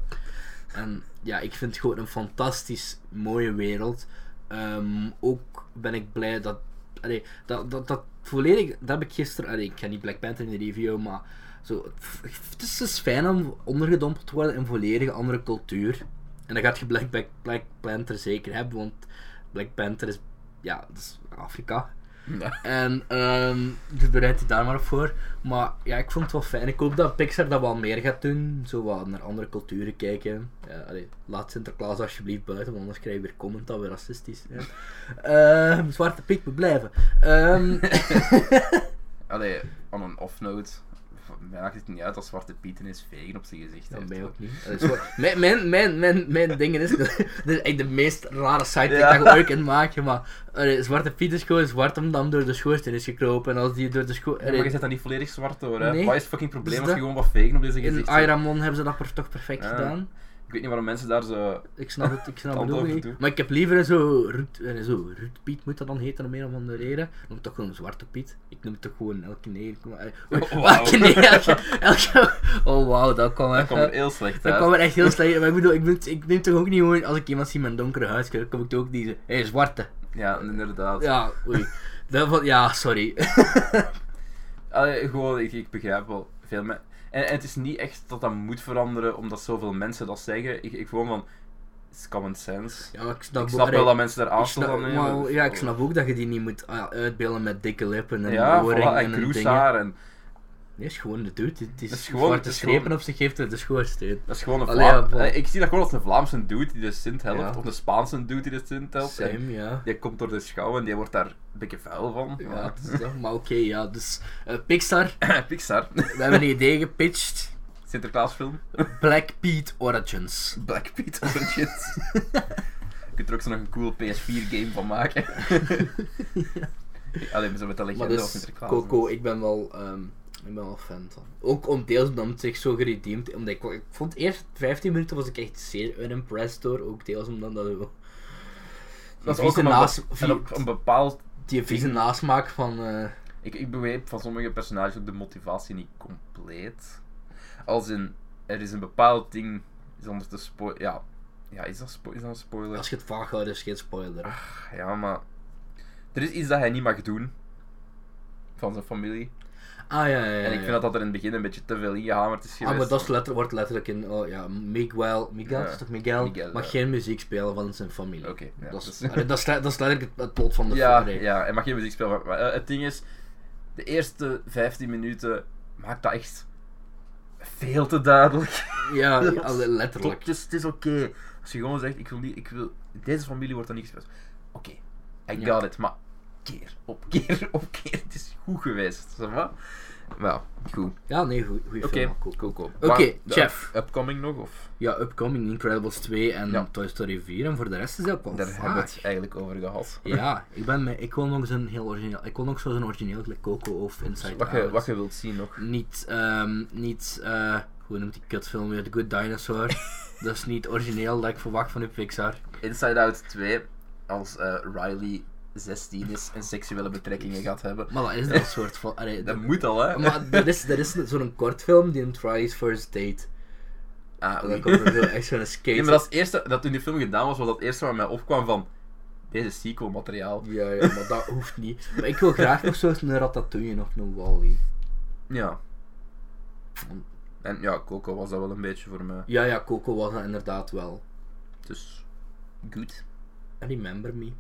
B: En ja, ik vind het gewoon een fantastisch mooie wereld. Ehm, ook ben ik blij dat, allee, dat, dat, dat volledig, dat heb ik gisteren, allee, ik ga niet Black Panther in de review, maar zo, het f- het is dus fijn om ondergedompeld te worden in volledig andere cultuur. En dan gaat je Black, Black, Black Panther zeker hebben, want Black Panther is, ja, dat is Afrika.
A: Ja.
B: En ehm dus bereid je daar maar op voor. Maar ja, ik vond het wel fijn. Ik hoop dat Pixar dat wel meer gaat doen. Zo wat naar andere culturen kijken. Ja, allee, laat Sinterklaas alsjeblieft buiten, want anders krijg je weer comment dat we racistisch zijn. Ehm, Zwarte Piet, we blijven. Ehm,
A: Allee, on een off-note. v- Mij maakt het niet uit als Zwarte Pieten is vegen op zijn gezicht.
B: Ja,
A: heeft.
B: mij ook niet. Dat is gewoon- mijn, mijn, mijn, mijn, mijn dingen is. (laughs) Dat is echt de meest rare site die
A: Ja.
B: ik daar ooit kan maken. Maar allee, Zwarte Piet is gewoon zwart omdat hem door de schoorsteen is gekropen. En als die door de
A: Ja, maar je
B: schoorsteen.
A: zet dat niet volledig zwart hoor. Hè?
B: Nee.
A: Wat is het fucking probleem
B: Dus
A: als je
B: dat-
A: gewoon wat vegen op deze
B: in
A: gezicht
B: Iramon hebben ze dat per- toch perfect
A: Ja.
B: gedaan.
A: Ik weet niet waarom mensen daar
B: (laughs)
A: zo.
B: Ik snap het, ik snap
A: Het
B: het ook
A: antwoord
B: niet.
A: doe.
B: Maar ik heb liever zo Ruud, eh, zo Ruud Piet moet dat dan heten om een of andere reden. Ik noem het toch gewoon Zwarte Piet. Ik noem het toch gewoon Elke Neer. (laughs)
A: Oh, wauw.
B: Elke Neer, elke, elke- Oh wauw, dat kwam
A: Dat kwam
B: even-
A: er heel slecht
B: Dat
A: uit.
B: kwam er echt heel slecht. Maar ik bedoel, ik, ben, ik neem toch ook niet gewoon als ik iemand zie met een donkere huidskleur, kom ik toch ook die zo, hé, zwarte.
A: Ja, inderdaad.
B: Ja, oei. Dat van, ja, sorry.
A: Allee, gewoon, ik, ik begrijp wel veel me- En, en het is niet echt dat dat moet veranderen omdat zoveel mensen dat zeggen. Ik, ik gewoon van. It's common sense.
B: Ja, maar ik snap,
A: ik snap wel dat mensen daar
B: ik
A: aanstoot
B: snap,
A: aan
B: maar,
A: nemen.
B: ja, ik snap ook dat je die niet moet ah, uitbeelden met dikke lippen en
A: Ja, voilà,
B: oren
A: en
B: en dingen.
A: cruisaar. En,
B: Nee, is gewoon de dude. Het is,
A: Dat is gewoon-
B: zwarte
A: het is
B: strepen
A: gewoon-
B: op zich geeft het de schoorsteen.
A: dat is gewoon een
B: Allee, ja,
A: Vlaam.
B: voilà.
A: Eh, ik zie dat gewoon als een Vlaamse dude die de Sint helpt,
B: Ja.
A: of een Spaanse dude die de Sint helpt. En
B: Same, ja.
A: die komt door de schouw en die wordt daar een beetje vuil van.
B: Ja, het is dat. maar oké, ja. Dus eh, Pixar,
A: (laughs) Pixar.
B: we hebben een idee gepitcht.
A: Sinterklaasfilm.
B: Black Pete Origins.
A: Black Pete Origins. (laughs) Je kunt er ook zo nog een cool PS4-game van maken.
B: (laughs)
A: Alleen zo met dat
B: Maar
A: legende van
B: dus,
A: Sinterklaas.
B: Coco, ik ben wel, ehm, ik ben wel fan van. Ook om deels omdat het zich zo geredeemd... Omdat ik, ik vond eerst 15 minuten was ik echt zeer unimpressed door. Ook deels omdat dat... zo-
A: Dat is
B: die
A: ook een,
B: vieze naas-
A: be- en op een bepaald...
B: Die vieze nasmaak van... eh,
A: Ik, ik begreep van sommige personages ook de motivatie niet compleet. Als in, er is een bepaald ding zonder te spoil... Ja. ja, is dat, spo- is dat een spoiler?
B: als je het vaag houdt, is geen
A: Ah.
B: spoiler.
A: Ja, maar... Er is iets dat hij niet mag doen. Van zijn familie.
B: Ah, ja, ja, ja.
A: En ik
B: ja.
A: vind dat dat er in het begin een beetje te veel ingehamerd is geweest.
B: Ah, maar dat is letter, wordt letterlijk in, oh ja, Miguel, Miguel,
A: Ja.
B: is toch Miguel,
A: Miguel,
B: mag
A: ja.
B: geen muziek spelen van zijn familie.
A: Oké, ja,
B: dat, is,
A: dus-
B: allee, dat, is, le- dat is letterlijk het, het plot van de
A: Ja,
B: film.
A: ja, en mag geen muziek spelen. Maar, maar, eh, het ding is, de eerste 15 minuten maakt dat echt veel te duidelijk.
B: Ja,
A: Dat is-
B: allee, letterlijk.
A: Het is, het is oké. Als je gewoon zegt, ik wil niet, ik wil, deze familie wordt dan niet gespeeld. Oké, I
B: Ja.
A: got it, maar keer op keer (laughs) op keer. Het is goed geweest, zeg maar. Nou, goed.
B: Ja, nee, goeie, goeie
A: Oké,
B: film. Cool.
A: cool, cool.
B: Oké,
A: Maar de
B: Jeff.
A: up- Upcoming nog, of?
B: Ja, Upcoming, Incredibles 2 en
A: Ja.
B: Toy Story 4. En voor de rest is dat ook wel
A: Daar
B: vaag.
A: hebben we het eigenlijk over gehad.
B: Ja, ik, ben me, ik wil nog eens een heel origineel... Ik wil nog zo'n origineel, like Coco of Inside
A: Wat je,
B: Out.
A: wat je wilt zien nog.
B: Niet, ehm, niet, eh, hoe noemt die kutfilm weer? The Good
A: (laughs)
B: Dinosaur. dat is niet origineel dat ik verwacht van de Pixar.
A: Inside Out 2, als eh, Riley 16 is en seksuele betrekkingen gaat hebben.
B: Maar dat is dat soort van... allee,
A: Dat moet al, hè?
B: Maar er is, er is zo'n kortfilm die noemt Riley's First Date.
A: Ah,
B: En
A: oei. (laughs)
B: dan komt er zo echt zo'n skate.
A: Nee, maar dat, is het eerste, dat toen die film gedaan was, was dat het eerste waar mij opkwam van... Deze sequel-materiaal.
B: Ja, ja, maar dat hoeft niet. Maar ik wil graag nog zo'n Ratatouille of een Wally.
A: Ja. En ja, Coco was dat wel een beetje voor mij.
B: Ja, ja, Coco was dat inderdaad wel.
A: Dus, goed.
B: Remember Ah,
A: (laughs)
B: me.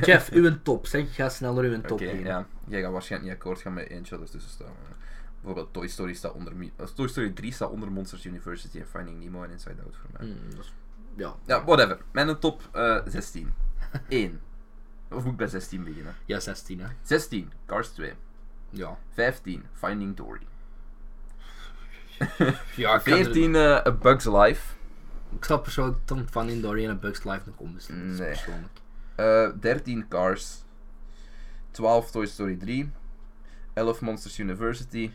B: Jeff, uw top. Zeg, ga snel naar uw top
A: Oké,
B: heen.
A: ja. Jij gaat waarschijnlijk niet akkoord gaan met eentje ertussen staan. maar Bijvoorbeeld Toy Story staat onder... Mi- eh, Toy Story 3 staat onder Monsters University en Finding Nemo en Inside Out voor mij.
B: Hmm, dat is- ja.
A: Ja, whatever. Mijn top eh (laughs) 16. 1. Of moet ik bij 16 beginnen?
B: ja, 16 hè.
A: 16. Cars 2.
B: Ja.
A: 15. Finding Dory.
B: ja
A: 14. eh, A Bug's Life.
B: Ik snap persoonlijk Tom van in Dory en Bugs Life nog onbestemd.
A: Nee.
B: Nee. Persoonlijk.
A: Eh, 13 Cars. 12 Toy Story 3. 11 Monsters University.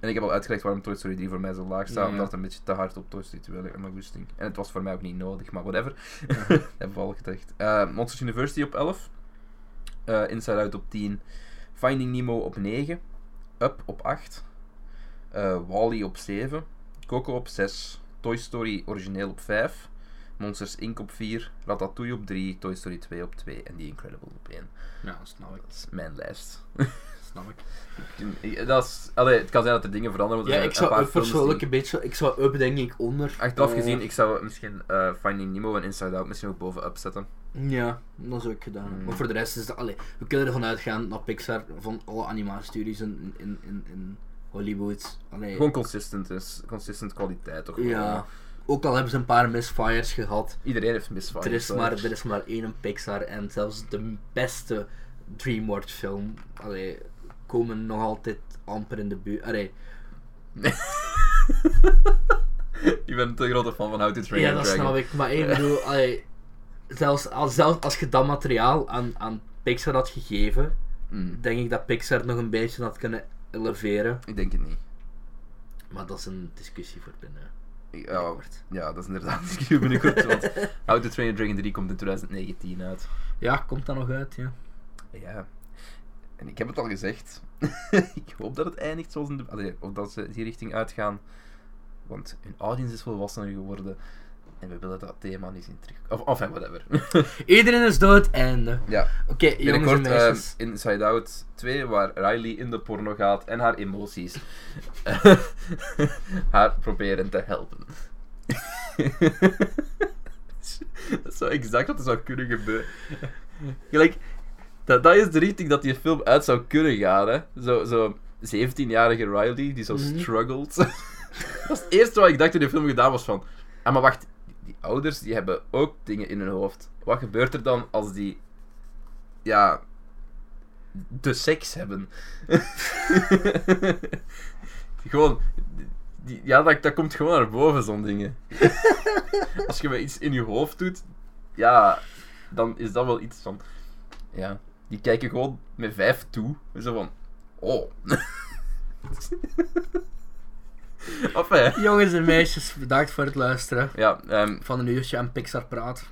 A: En ik heb al uitgelegd waarom Toy Story 3 voor mij zo laag staat.
B: Ja.
A: Omdat het een beetje te hard op Toy Story 2 ligt. En mijn goesting. En het was voor mij ook niet nodig, maar whatever. dat (laughs) hebben we al gezegd. Eh, Monsters University op 11. Eh, Inside Out op 10. Finding Nemo op 9. Up op 8. eh Wally op 7. Coco op 6. Toy Story origineel op 5. Monsters Inc. op 4, Ratatouille op 3, Toy Story 2 op 2 en The Incredible op 1.
B: Ja, dat snap ik.
A: Dat is mijn lijst.
B: dat snap ik.
A: dat is, allee, het kan zijn dat er dingen veranderen. Want
B: Ja,
A: er
B: ik
A: zijn een
B: zou Up
A: paar films
B: persoonlijk
A: die-
B: een beetje... Ik zou Up denk ik onder...
A: Achteraf
B: eh,
A: gezien, ik zou misschien eh, Finding Nemo en Inside Out misschien ook bovenop zetten.
B: Mm, Ja, dat zou ik gedaan. hebben.
A: Mm.
B: Maar voor de rest is dat... Allee, we kunnen ervan uitgaan dat Pixar van alle animatiestudios in, in, in, in Hollywood... Allee,
A: Gewoon consistent is, consistent kwaliteit toch? wel.
B: ja. Ook al hebben ze een paar misfires gehad.
A: Iedereen heeft misvallen.
B: Er is, maar, er is maar één Pixar en zelfs de beste DreamWorks film allee, komen nog altijd amper in de buurt. Allee,
A: (laughs) Ik ben een te grote fan van How to Train
B: ja,
A: Your
B: dat
A: Dragon.
B: snap ik. Maar ik
A: (laughs)
B: bedoel, allee, zelfs, als, zelfs als je dat materiaal aan, aan Pixar had gegeven,
A: Mm,
B: denk ik dat Pixar nog een beetje had kunnen eleveren.
A: ik denk het niet.
B: Maar dat is een discussie voor binnen.
A: Ik- Ja, ja, dat is inderdaad (laughs) een discussie
B: (laughs)
A: binnenkort. Want How to Train Your Dragon 3 komt in 2019 uit.
B: Ja, komt dat nog uit, ja.
A: Ja. En ik heb het al gezegd. (laughs) ik hoop dat het eindigt zoals in de... Allee, of dat ze die richting uitgaan. Want hun audience is volwassener geworden. En we willen dat thema niet zien terugkomen. Of, enfin, whatever. (laughs)
B: Iedereen is dood, einde.
A: ja,
B: Oké, jongens en
A: binnenkort ehm,
B: meisjes.
A: Inside Out 2, waar Riley in de porno gaat en haar emoties eh, (laughs) haar proberen te helpen. (laughs) dat zou exact wat er zou kunnen gebeuren. Gelijk, dat, dat is de richting dat die film uit zou kunnen gaan. Hè? Zo, zo 17-jarige Riley die zo
B: Mhm.
A: struggelt. (laughs) dat is het eerste wat ik dacht toen die film gedaan was van... Ah, maar wacht. Die ouders die hebben ook dingen in hun hoofd. Wat gebeurt er dan als die... Ja... De seks hebben? (laughs) gewoon... die- ja, dat, dat komt gewoon naar boven, zo'n dingen. als je maar iets in je hoofd doet... Ja... Dan is dat wel iets van... Ja. Die kijken gewoon met vijf toe. En zo van... Oh. (laughs) enfin.
B: Jongens en meisjes, bedankt voor het luisteren.
A: Ja, ehm,
B: van een uurtje aan Pixar praat.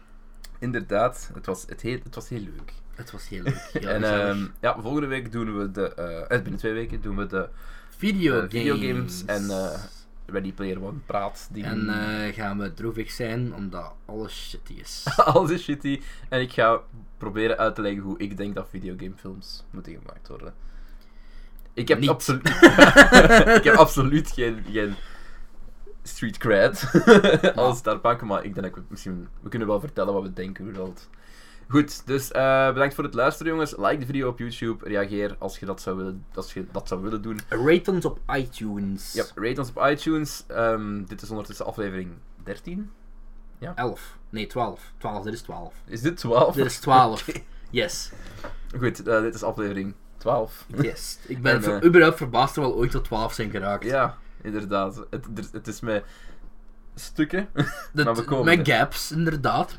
A: inderdaad. Het was, het, heel, het was heel leuk.
B: Het was heel leuk. Heel
A: en
B: gezellig.
A: ehm, ja, volgende week doen we de... eh, eh, binnen twee weken doen we de
B: videogames.
A: eh, videogames en, eh, Ready Player One praat. Die
B: En, eh, gaan we droevig zijn omdat alles shitty
A: (laughs)
B: is. (laughs)
A: Alles is shitty. En ik ga proberen uit te leggen hoe ik denk dat videogamefilms moeten gemaakt worden. Ik heb,
B: Niet.
A: absolu- (laughs) ik heb absoluut geen, geen street cred (laughs) als daar pakken, maar ik denk dat we het misschien... We kunnen wel vertellen wat we denken, hoe dat... Goed, dus eh, bedankt voor het luisteren, jongens. Like de video op YouTube. Reageer als je dat zou willen, als je dat zou willen doen.
B: Rate ons op iTunes.
A: Ja, rate ons op iTunes. Ehm, dit is ondertussen aflevering 13.
B: 11. Nee, 12. 12, dit is 12.
A: Is dit 12?
B: Dit is
A: (laughs)
B: 12. Yes.
A: Goed, eh, dit is aflevering 12.
B: Yes. Ik ben
A: En,
B: ver-
A: eh,
B: überhaupt verbaasd dat we al ooit tot 12 zijn geraakt.
A: Ja, inderdaad. Het, er- het is met stukken.
B: Dat-
A: maar we komen
B: met
A: er.
B: gaps, inderdaad,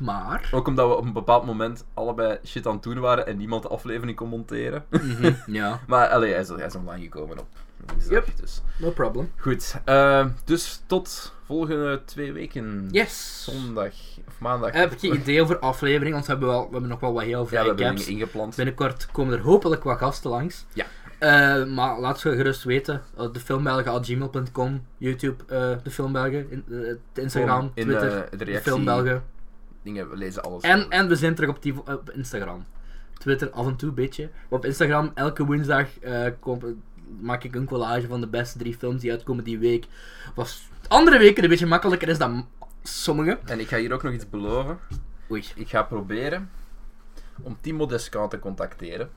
A: (laughs)
B: maar.
A: Ook omdat we op een bepaald moment allebei shit aan het doen waren en niemand de aflevering kon
B: (laughs)
A: monteren.
B: Mhm, ja,
A: Maar allee, hij, is, hij is online gekomen op woensdag. Dus.
B: no problem.
A: Goed, eh, dus tot volgende twee weken.
B: Yes. Eh,
A: Zondag of maandag.
B: Heb je idee over aflevering? Want we hebben, wel, we hebben nog wel wat heel
A: ja, we
B: veel
A: hebben
B: gaps.
A: dingen ingepland.
B: Binnenkort komen er hopelijk wat gasten langs.
A: Ja.
B: Eh, maar laat ze gerust weten. eh, Defilmbelgen.gmail.com, YouTube, eh, De Filmbelgen, in, eh, het Instagram,
A: Gewoon in eh,
B: Twitter,
A: de
B: De
A: reactie.
B: Filmbelgen.
A: Dingen, we lezen alles.
B: En, en we zijn terug op, die, op Instagram. Twitter af en toe een beetje. Maar op Instagram elke woensdag eh, kom- maak ik een collage van de beste drie films die uitkomen die week. Was andere weken een beetje makkelijker is dan sommige.
A: En ik ga hier ook nog iets beloven.
B: Oei.
A: Ik ga proberen om Timo Descant te contacteren.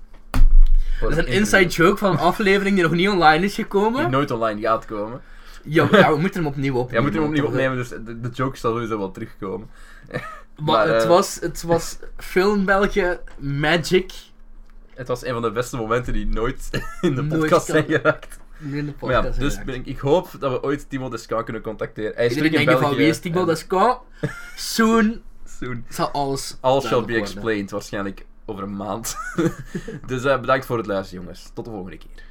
B: Dat is een inside joke van een aflevering die nog niet online is
A: Die
B: gekomen.
A: nooit online gaat komen.
B: Ja, ja, we moeten hem opnieuw opnemen.
A: Jij moet hem opnieuw opnemen, dus de, de joke zal sowieso wel terugkomen.
B: Maar
A: Maar,
B: het
A: eh,
B: was, het was Film België Magic.
A: (laughs) Het was een van de beste momenten die nooit (laughs) in de
B: Nooit
A: podcast
B: kan-
A: zijn geraakt.
B: Nu in de
A: Maar ja,
B: podcast.
A: dus
B: geraakt.
A: ben ik, ik hoop dat we ooit Timo Descant kunnen contacteren. Hij is
B: Iedereen
A: terug in
B: denkt
A: België.
B: van wie is Timo
A: en
B: Descant?
A: (laughs)
B: Soon
A: soon.
B: zal alles
A: All shall
B: duidelijk
A: be
B: worden.
A: explained, waarschijnlijk over een maand. (laughs) dus eh, bedankt voor het luisteren, jongens. Tot de volgende keer.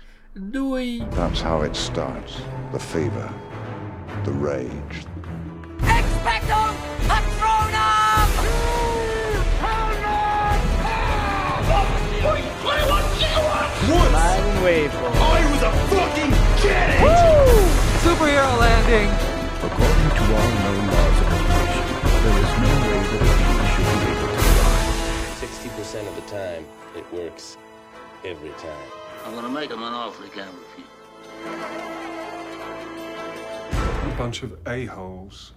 B: Doei!
C: That's how it starts. The fever, the rage,
D: Expecto Patronum!
E: According to all known laws of evolution, there is no way that a bee should be able to fly.
F: 60% of the time, it works every time.
G: I'm gonna make him an offer he can't refuse.
H: bunch of a-holes.